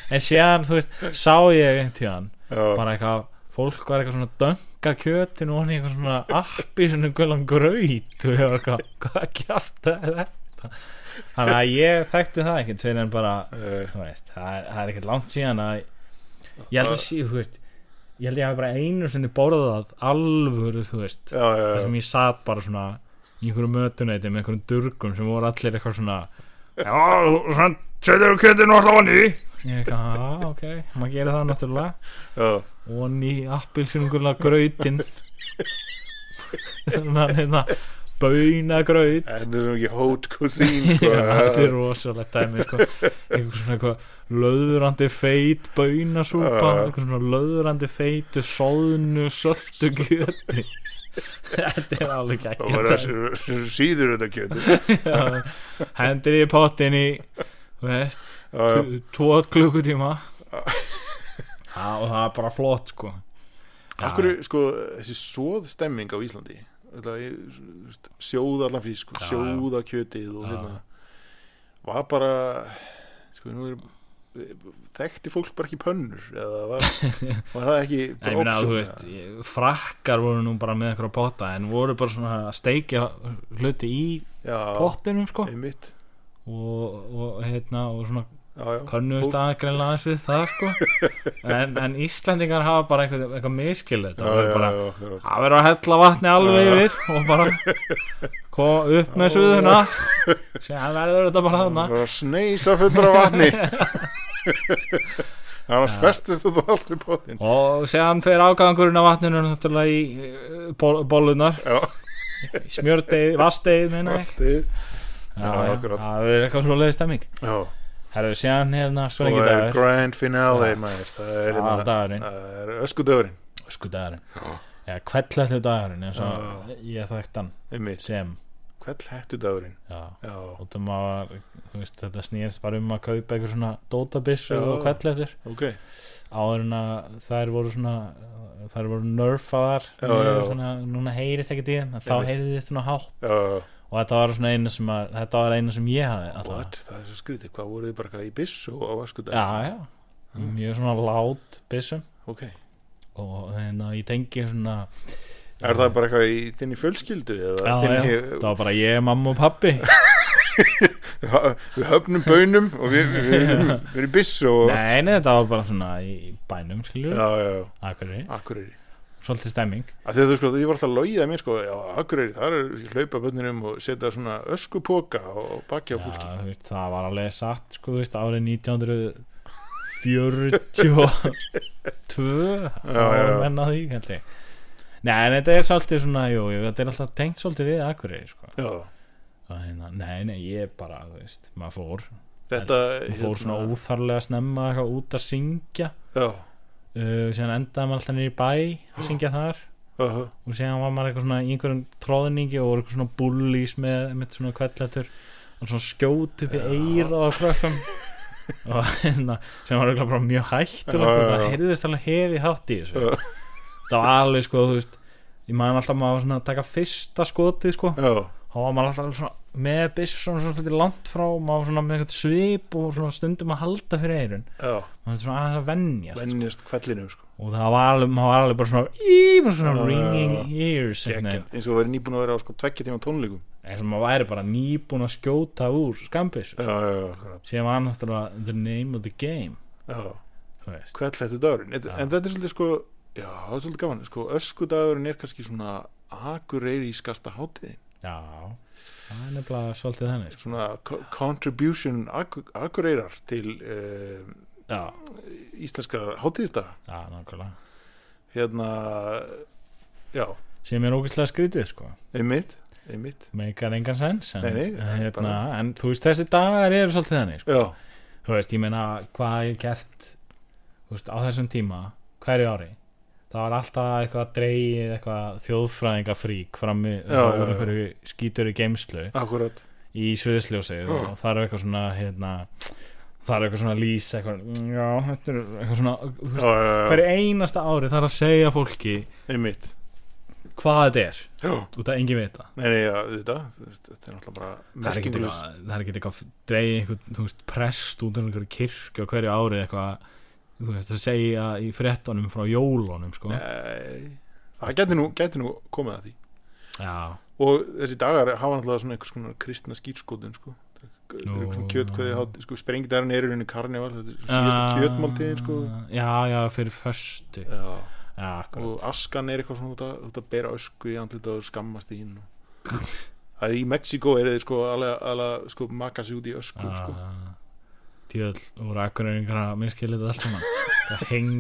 Speaker 5: en séðan þú veist sá ég tíðan
Speaker 6: Já,
Speaker 5: bara eitthvað fólk var eitthvað svona að dönga kjötin og hann í eitthvað svona appi svona gulan gröyt og ég var eitthvað hvað kjátt er þetta þannig að ég þekkti það ekkert fyrir en bara uh,
Speaker 6: Eh,
Speaker 5: þú veist, það er, það er ekkert langt síðan að ég held að síðu, þú veist ég held ég hafi bara einu sinni borðað alvöru, þú veist
Speaker 6: já, já,
Speaker 5: þar
Speaker 6: já
Speaker 5: sem ég satt bara svona í einhverju mötuneyti með einhverjum durgum sem voru allir eitthvað svona já, þú- svona setjum við kjötinu alltaf vann í ég eitthvað, "Ah, ok, maður gerir það náttúrulega
Speaker 6: Já,
Speaker 5: og ný appilsinugurlega gröytin þannig að hérna bauna gröyt
Speaker 6: þetta er svona ekki hot cuisine sko.
Speaker 5: Já, þetta er rosalegt dæmi sko. einhver svona eitthvað löðurandi feit baunasúpa
Speaker 6: Já.
Speaker 5: einhver svona löðurandi feitu soðnu söldu kjöti þetta er alveg
Speaker 6: Það var
Speaker 5: ekki
Speaker 6: að síður þetta kjöti
Speaker 5: hendir í pottin í þú veist,
Speaker 6: Já,
Speaker 5: tu- tvo klukkutíma já, og það er bara flott sko Já,
Speaker 6: Akkur, sko, þessi svoð stemming á Íslandi þetta, ég, þú veist, sjóða allan fisk sko,
Speaker 5: Já,
Speaker 6: sjóða kjötið og
Speaker 5: Já.
Speaker 6: hérna var bara sko, nú er þekkti fólk bara ekki pönnur eða var, var það ekki
Speaker 5: Já, ég meina,
Speaker 6: option,
Speaker 5: þú veist, ég- frakkar voru nú bara með eitthvað potta en voru bara svona að steikja hluti í
Speaker 6: já,
Speaker 5: pottinum sko
Speaker 6: einmitt
Speaker 5: og, og, hérna, og svona
Speaker 6: já, já,
Speaker 5: könnuðust
Speaker 6: Fólk-
Speaker 5: aðgreinlega aðeins við það sko en, en Íslandingar hafa bara eitthvað, eitthvað miskilið
Speaker 6: já,
Speaker 5: það verður bara
Speaker 6: já, já, akkurat.
Speaker 5: það verður að hella vatni alveg yfir og bara ko, upp með suðuna síðan verður þetta bara þarna
Speaker 6: Það var að sneisa fullur af vatni það var hans festist þetta allt við bóttin
Speaker 5: og séðan fer afgangurinn á vatninu náttúrulega í eh, ból, bólunar
Speaker 6: já,
Speaker 5: smjördeið, vasteið meina ég.
Speaker 6: fastið
Speaker 5: Já,
Speaker 6: Já,
Speaker 5: já,
Speaker 6: akkurat.
Speaker 5: það er eitthvað svo leiði stemming
Speaker 6: já,
Speaker 5: herru, séðan hérna
Speaker 6: og
Speaker 5: spurningi
Speaker 6: er
Speaker 5: dagur
Speaker 6: grand finale maður, það er,
Speaker 5: Já,
Speaker 6: hérna-
Speaker 5: dagurinn.
Speaker 6: það er öskudöfurinn
Speaker 5: ösku dagurinn já, kvellettu dagurinn eins og
Speaker 6: Já.
Speaker 5: ég þekkt hann
Speaker 6: einmitt,
Speaker 5: sem
Speaker 6: hvell hættu döfurinn
Speaker 5: já,
Speaker 6: já,
Speaker 5: og það maður þú veist, þetta snýrst bara um að kaupa eitthvað svona dótabissu
Speaker 6: Já.
Speaker 5: og kvellettur
Speaker 6: ok
Speaker 5: áður en að þær voru svona uh, þær voru nerfaðar
Speaker 6: Já,
Speaker 5: niður,
Speaker 6: já, já.
Speaker 5: svona, núna heyrist ekkert í þeim en þá
Speaker 6: Einmitt.
Speaker 5: heyrði þið svona hátt
Speaker 6: já,
Speaker 5: og þetta var svona einu sem að, þetta var einu sem ég hafði alltaf
Speaker 6: what, það er svo skrítið, hvað voruð þið bara eitthvað í byssu á öskudöfurinn,
Speaker 5: já, já, mjög svona lát byssum
Speaker 6: ok
Speaker 5: og þannig að ég tengi svona
Speaker 6: er það bara eitthvað í þinni fjölskyldu
Speaker 5: já,
Speaker 6: eða
Speaker 5: já,
Speaker 6: þinni,
Speaker 5: það var bara ég, mamma og pappi
Speaker 6: við höfnum bönum og við, við, við, erum- við erum í byssu og
Speaker 5: nei, nei, þetta var bara svona í bænum, skiljur,
Speaker 6: já, já, já,
Speaker 5: akkurri
Speaker 6: akkurýri
Speaker 5: svolítið stemming
Speaker 6: að því að þú sko, því var alltaf logið að mér sko, já, Akureyri, þar er ég hlaupa bönnunum og setja svona öskupoka og bakja á fólki.
Speaker 5: Já, þú veist, það var alveg satt sko, þú veist, árið 1942
Speaker 6: Já, já, já.
Speaker 5: menna því, held ég Nei, en þetta er svolítið svona, jú, jú þetta er alltaf tengt svolítið við Akureyri, sko
Speaker 6: Já,
Speaker 5: Og hérna, Nei, nei, ég bara, þú veist, maður fór
Speaker 6: þetta hérna-
Speaker 5: maður fór svona óþarlega snemma eitthvað út að syngja
Speaker 6: Já,
Speaker 5: uh, síðan endaði maður alltaf niður í bæ að syngja þar
Speaker 6: aha,
Speaker 5: og síðan var maður eitthvað svona í einhverjum tróðningi og voru eitthvað svona bullís með, með svona kvelletur og svona skjót upp í eira á krökkum og hérna sem var eitthvað bara mjög hættulegt
Speaker 6: Já,
Speaker 5: og
Speaker 6: já,
Speaker 5: það
Speaker 6: já.
Speaker 5: heyrðist alveg hefi hátt í þessu
Speaker 6: Já.
Speaker 5: það var alveg sko þú veist ég man alltaf maður var svona að taka fyrsta skotið sko
Speaker 6: já,
Speaker 5: þá var maður alltaf alveg svona með byssun svona svolítið langt frá og maður var svona með eitthvað svip og svona stundum að halda fyrir eirun
Speaker 6: já,
Speaker 5: maður var svona aðeins að venjast sko
Speaker 6: vennjast kvellinum sko,
Speaker 5: og það var alveg, maður var alveg bara svona í, bara svona
Speaker 6: Já, já, já.
Speaker 5: ringing ears einhvern
Speaker 6: ekki,
Speaker 5: veginn.
Speaker 6: eins og verið nýbúin að vera á sko tvekki tíma tónleikum.
Speaker 5: eins og maður væri bara nýbúin að skjóta úr skambis
Speaker 6: Já, já, já, akkurat,
Speaker 5: sem var náttúrulega the name of the game
Speaker 6: já,
Speaker 5: þú veist.
Speaker 6: kvell þetta dagurinn, en,
Speaker 5: Já.
Speaker 6: en þetta er svolítið sko, já, það er svolítið gaman, sko, öskudagurinn er kannski svona Akureyri í skasta hátiðin,
Speaker 5: já, það er nefnilega svolítið þannig sko.
Speaker 6: svona co- contribution Aku- Akureyrar til uh,
Speaker 5: já,
Speaker 6: íslenskar hátiðistaga.
Speaker 5: já, nákvæmlega
Speaker 6: hérna já,
Speaker 5: sem er ógeðslega skrítið sko
Speaker 6: einmitt, einmitt
Speaker 5: meikar engan sens en,
Speaker 6: Nei, nei,
Speaker 5: en hérna,
Speaker 6: bara-
Speaker 5: en þú veist þessi dagar eru svolítið þannig sko.
Speaker 6: já,
Speaker 5: þú veist, ég meina hvað ég gert þú veist, á þessum tíma hverju ári það var alltaf eitthvað dreigið eitthvað þjóðfræðingafrík frammi úr
Speaker 6: Já, já, já.
Speaker 5: einhverju skítur í geimslu
Speaker 6: akkurat
Speaker 5: í sviðisljósið
Speaker 6: Já.
Speaker 5: og það er eitthvað svona hérna, það er eitthvað svona lýs eitthvað, mm, já, þetta er eitthvað svona þú
Speaker 6: já,
Speaker 5: veist,
Speaker 6: já, já,
Speaker 5: hverju einasta ári það er að segja fólki
Speaker 6: einmitt
Speaker 5: hvað þetta er
Speaker 6: já,
Speaker 5: út af engin veit það
Speaker 6: nei, nei, já, þetta þetta er náttúrulega bara
Speaker 5: Það er ekkert
Speaker 6: merkingulis
Speaker 5: eitthvað, það er ekkert eitthvað dreigið einhvern, þú veist, prest út af einhverju kirkju á hverju ári eitthvað, þú veist, að segja í fréttunum frá jólunum, sko.
Speaker 6: nei, það gæti nú, gæti nú komið að því
Speaker 5: Já,
Speaker 6: og þessi dagar hafa náttúrulega svona einhvers konar kristna skýrskotin sko Það
Speaker 5: Nú,
Speaker 6: eru einhvers svona
Speaker 5: já.
Speaker 6: kjötkveði hát, sko, sprengdarinn er í rauninu karnival þetta er síðasta
Speaker 5: Ah,
Speaker 6: kjötmáltíðin sko
Speaker 5: Já, já, fyrir föstu.
Speaker 6: já,
Speaker 5: Já, akkurat.
Speaker 6: og askan er eitthvað svona út að, út að bera ösku í andlita og skammast í hinn og... að í Mexiko er þið sko alveg alveg sko maka sig út í ösku
Speaker 5: Ah.
Speaker 6: sko.
Speaker 5: Tjöðl, voru akkurreiningar að miskilja þetta allt saman Það heng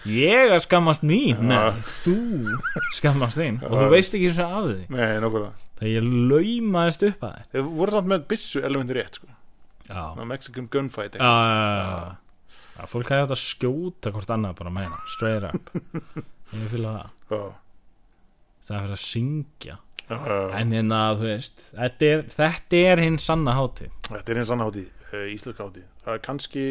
Speaker 5: Ég að skammast mín,
Speaker 6: Já.
Speaker 5: nei, þú skammast þín og þú
Speaker 6: Já.
Speaker 5: veist ekki eins og af því
Speaker 6: nei, nokkulega
Speaker 5: þegar ég laumaðist upp að þér
Speaker 6: þeir voru samt með byssu elementir rétt sko.
Speaker 5: Já,
Speaker 6: Ná, Mexican gunfight
Speaker 5: já,
Speaker 6: eitthvað.
Speaker 5: já, já. Ah. Já, Fólk hefði þetta að skjóta hvort annað bara meina, straight up Ég fylg það,
Speaker 6: já,
Speaker 5: það er fyrir að syngja
Speaker 6: já, já.
Speaker 5: En hérna, þú veist, þetta er, þetta er hinn sanna hátíð
Speaker 6: þetta er eins annan hátíð, uh, íslenska hátíð það er kannski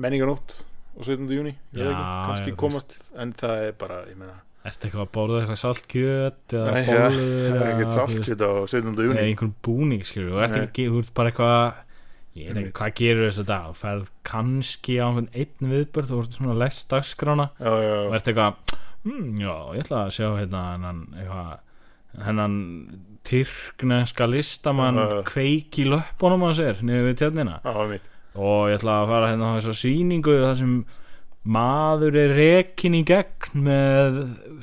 Speaker 6: menninganótt og 17. júni, ég
Speaker 5: Já,
Speaker 6: veit ekki
Speaker 5: já,
Speaker 6: kannski
Speaker 5: þú
Speaker 6: komast, en það er bara ég meina,
Speaker 5: Ertu eitthvað að borða eitthvað saltkjöt eða
Speaker 6: Nei, já,
Speaker 5: bólur
Speaker 6: það er
Speaker 5: eða,
Speaker 6: ekkert
Speaker 5: þú veist,
Speaker 6: saltkjöt á 17.
Speaker 5: eða
Speaker 6: júni
Speaker 5: einhvern búning skilur, þú ert
Speaker 6: Nei.
Speaker 5: ekki, þú ert bara eitthvað ég veit ekki
Speaker 6: Einmitt.
Speaker 5: hvað gerur þess að dag þú ferð kannski á einhvern einn viðbörð þú ert svona lest dagskrána
Speaker 6: já, já,
Speaker 5: og
Speaker 6: já,
Speaker 5: ert eitthvað, mm, já, ég ætla að sjá hérna hennan, eitthvað hennan tyrkneska listamann
Speaker 6: Já, já.
Speaker 5: kveiki löppunum að sér niður við tjarnina
Speaker 6: já, mitt
Speaker 5: og ég ætla að fara hérna á þessa sýningu þar sem maður er rekin í gegn með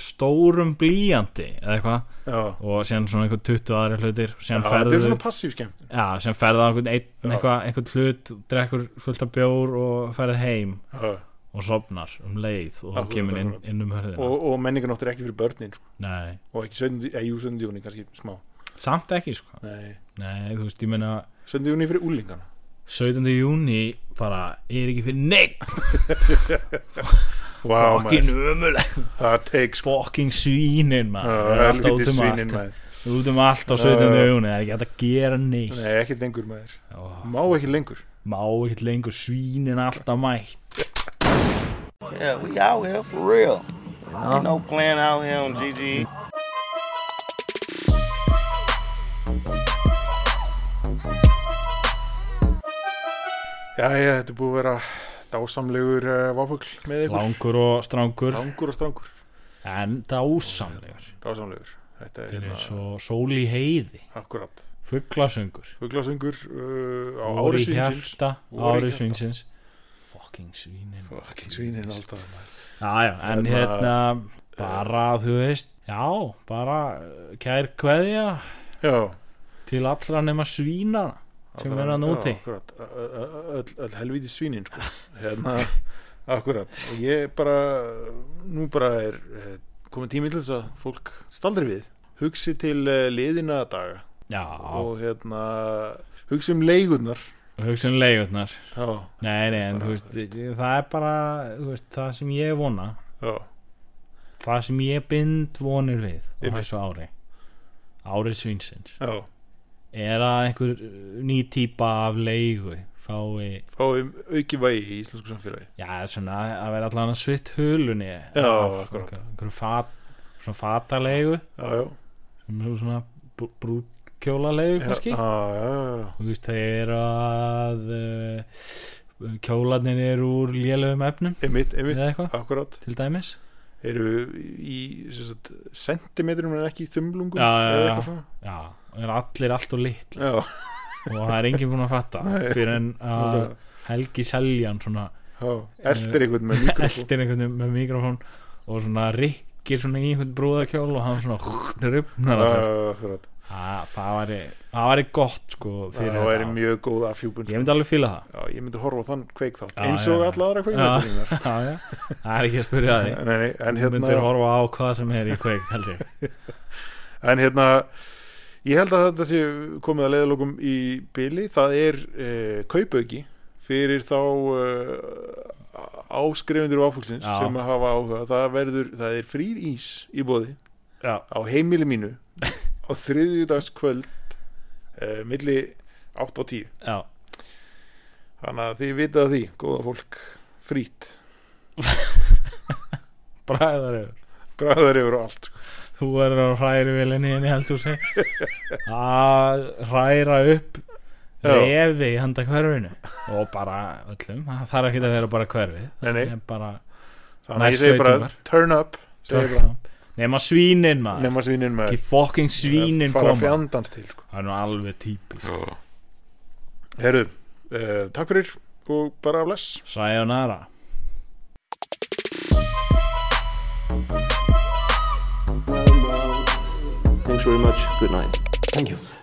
Speaker 5: stórum blíjandi eða eitthvað
Speaker 6: já,
Speaker 5: og síðan svona einhver 20 aðri hlutir og
Speaker 6: já
Speaker 5: síðan
Speaker 6: þetta er
Speaker 5: ferðu
Speaker 6: svona passív skemmt
Speaker 5: já, síðan ferðu á einhvern einn
Speaker 6: Já.
Speaker 5: eitthvað, einhvern hlut, drekkur fullt af bjór og ferðu heim
Speaker 6: já.
Speaker 5: og sopnar um leið og
Speaker 6: Akkurat,
Speaker 5: kemur inn,
Speaker 6: akkurat.
Speaker 5: inn um hörðina
Speaker 6: og, og menningarnótt er ekki fyrir börnin sko.
Speaker 5: nei,
Speaker 6: og ekki 17. eða jú 17. júni kannski smá
Speaker 5: samt ekki sko
Speaker 6: nei,
Speaker 5: nei, þú veist, ég meina
Speaker 6: 17. júni fyrir úlingana
Speaker 5: 17. júni bara er ekki fyrir neitt
Speaker 6: Vá,
Speaker 5: fucking
Speaker 6: maður,
Speaker 5: ömuleg
Speaker 6: það teik sko
Speaker 5: fucking svínin
Speaker 6: Já,
Speaker 5: maður það er alltaf út
Speaker 6: helviti
Speaker 5: um
Speaker 6: svinin
Speaker 5: allt
Speaker 6: maður
Speaker 5: út um allt á 17.
Speaker 6: Já, já.
Speaker 5: júni það er ekki hægt að gera neitt
Speaker 6: Nei, ekki lengur maður
Speaker 5: Ó,
Speaker 6: Má ekki lengur
Speaker 5: má ekkert lengur svínin alltaf mætt
Speaker 2: Yeah, we out here for real. Ain't no plan out here on E. GGE.
Speaker 6: Jæja, þetta er búið að vera dásamlegur uh, váfugl með ykkur
Speaker 5: langur og strangur
Speaker 6: Langur og strangur
Speaker 5: en dásamlegur
Speaker 6: Dásamlegur Þetta er
Speaker 5: þeir eru
Speaker 6: hérna
Speaker 5: svo sól í heiði
Speaker 6: akkurat
Speaker 5: fugglasöngur
Speaker 6: Fuglasöngur uh, á
Speaker 5: vor
Speaker 6: ári
Speaker 5: í
Speaker 6: svinsins
Speaker 5: hjarta
Speaker 6: Vor í
Speaker 5: ári
Speaker 6: hjarta.
Speaker 5: svinsins fucking svínin
Speaker 6: Fucking svinin alltaf maður
Speaker 5: já já en
Speaker 6: Hérna,
Speaker 5: hérna bara þú veist já bara uh, kær kveðja
Speaker 6: Já
Speaker 5: til allra nema svína Sem
Speaker 6: allra-
Speaker 5: er þarna
Speaker 6: já,
Speaker 5: úti.
Speaker 6: Akkurat Ö- ö- ö- Öll öll helvíti svinin sko Hérna Akkurat Og Ég bara Nú bara er eh, komið tími til þess að fólk staldri við Hugsi til eh, liðina daga
Speaker 5: já
Speaker 6: og hérna hugsa um leigunar
Speaker 5: hugsun leiðurnar
Speaker 6: já,
Speaker 5: nei nei en
Speaker 6: Bara,
Speaker 5: þú veist það er bara þú veist það sem ég vona
Speaker 6: já,
Speaker 5: það sem ég bind vonir við á
Speaker 6: Einmitt.
Speaker 5: þessu ári ári svinsins
Speaker 6: já
Speaker 5: er að einhver uh, ný típa af leigu fái,
Speaker 6: fáum auki vægi í íslensku samfélagi
Speaker 5: já svona að vera allan að svitt hulunni já,
Speaker 6: akkurat.
Speaker 5: einhver fat, svona fatalegu
Speaker 6: já, já,
Speaker 5: sem er svona brúðkjólalegu
Speaker 6: já,
Speaker 5: kannski
Speaker 6: já, já, já,
Speaker 5: þú veist það er að uh, kjólarnir eru úr lélögum efnum
Speaker 6: einmitt, einmitt
Speaker 5: eða eitthvað
Speaker 6: akkurat,
Speaker 5: til dæmis
Speaker 6: eru í sem sagt, sentimetrum en ekki í þumlungum
Speaker 5: Já, já,
Speaker 6: eða
Speaker 5: já.
Speaker 6: eitthvað svona
Speaker 5: já, og er allir allt og lit
Speaker 6: já,
Speaker 5: og það er enginn búin að fatta fyrir en að
Speaker 6: nákvæmlega.
Speaker 5: Helgi Seljan svona
Speaker 6: já, eldir einhvern með mikrofón
Speaker 5: eldir einhvern veginn með mikrofón og svona rikkir svona í einhvern brúðakjól og hann svona rupnar
Speaker 6: já,
Speaker 5: allur
Speaker 6: já, akkurat,
Speaker 5: það það væri það væri gott sko fyrir
Speaker 6: það væri
Speaker 5: þetta.
Speaker 6: mjög góð afhjúpun sko.
Speaker 5: ég myndi alveg fíla það
Speaker 6: já, ég myndi horfa á þann kveik þátt
Speaker 5: Já,
Speaker 6: eins
Speaker 5: já,
Speaker 6: og
Speaker 5: já.
Speaker 6: alla aðra kveik
Speaker 5: Já.
Speaker 6: þáttur mínar
Speaker 5: já, já. það er ekki að spyrja að því
Speaker 6: Nei, nei, en
Speaker 5: þú myndir
Speaker 6: hérna,
Speaker 5: horfa á hvað sem er í kveik held ég
Speaker 6: en hérna ég held að þetta sé komið að leiðalokum í byli, það er eh, kaupauki fyrir þá eh, áskrifundur áfólksins
Speaker 5: Já.
Speaker 6: sem að hafa áhuga það, verður, það er frýr ís í bóði
Speaker 5: já,
Speaker 6: á heimili mínu á þriðjudagskvöld eh, milli 8 og 10
Speaker 5: já,
Speaker 6: þannig að þið vitað af því, góða fólk frýtt,
Speaker 5: bræðar yfir
Speaker 6: græðar yfir og allt sko.
Speaker 5: þú verður að hræri vilinni inn í heldúsi að hræra upp
Speaker 6: Já.
Speaker 5: refi í handa hverfinu og bara öllum, það þarf ekki að vera bara hverfið
Speaker 6: Nei, nei.
Speaker 5: Það er bara
Speaker 6: þannig að
Speaker 5: Næst
Speaker 6: ég segi bara
Speaker 5: sveitungar.
Speaker 6: turn up segi bara,
Speaker 5: nema svínin maður
Speaker 6: nema svínin með
Speaker 5: ekki fucking svínin
Speaker 6: fara
Speaker 5: koma
Speaker 6: fjandans til sko.
Speaker 5: það er nú alveg típist
Speaker 6: Herru, uh, takk fyrir og bara bless
Speaker 5: sayonara
Speaker 4: Thanks very much. Good night.
Speaker 3: Thank you.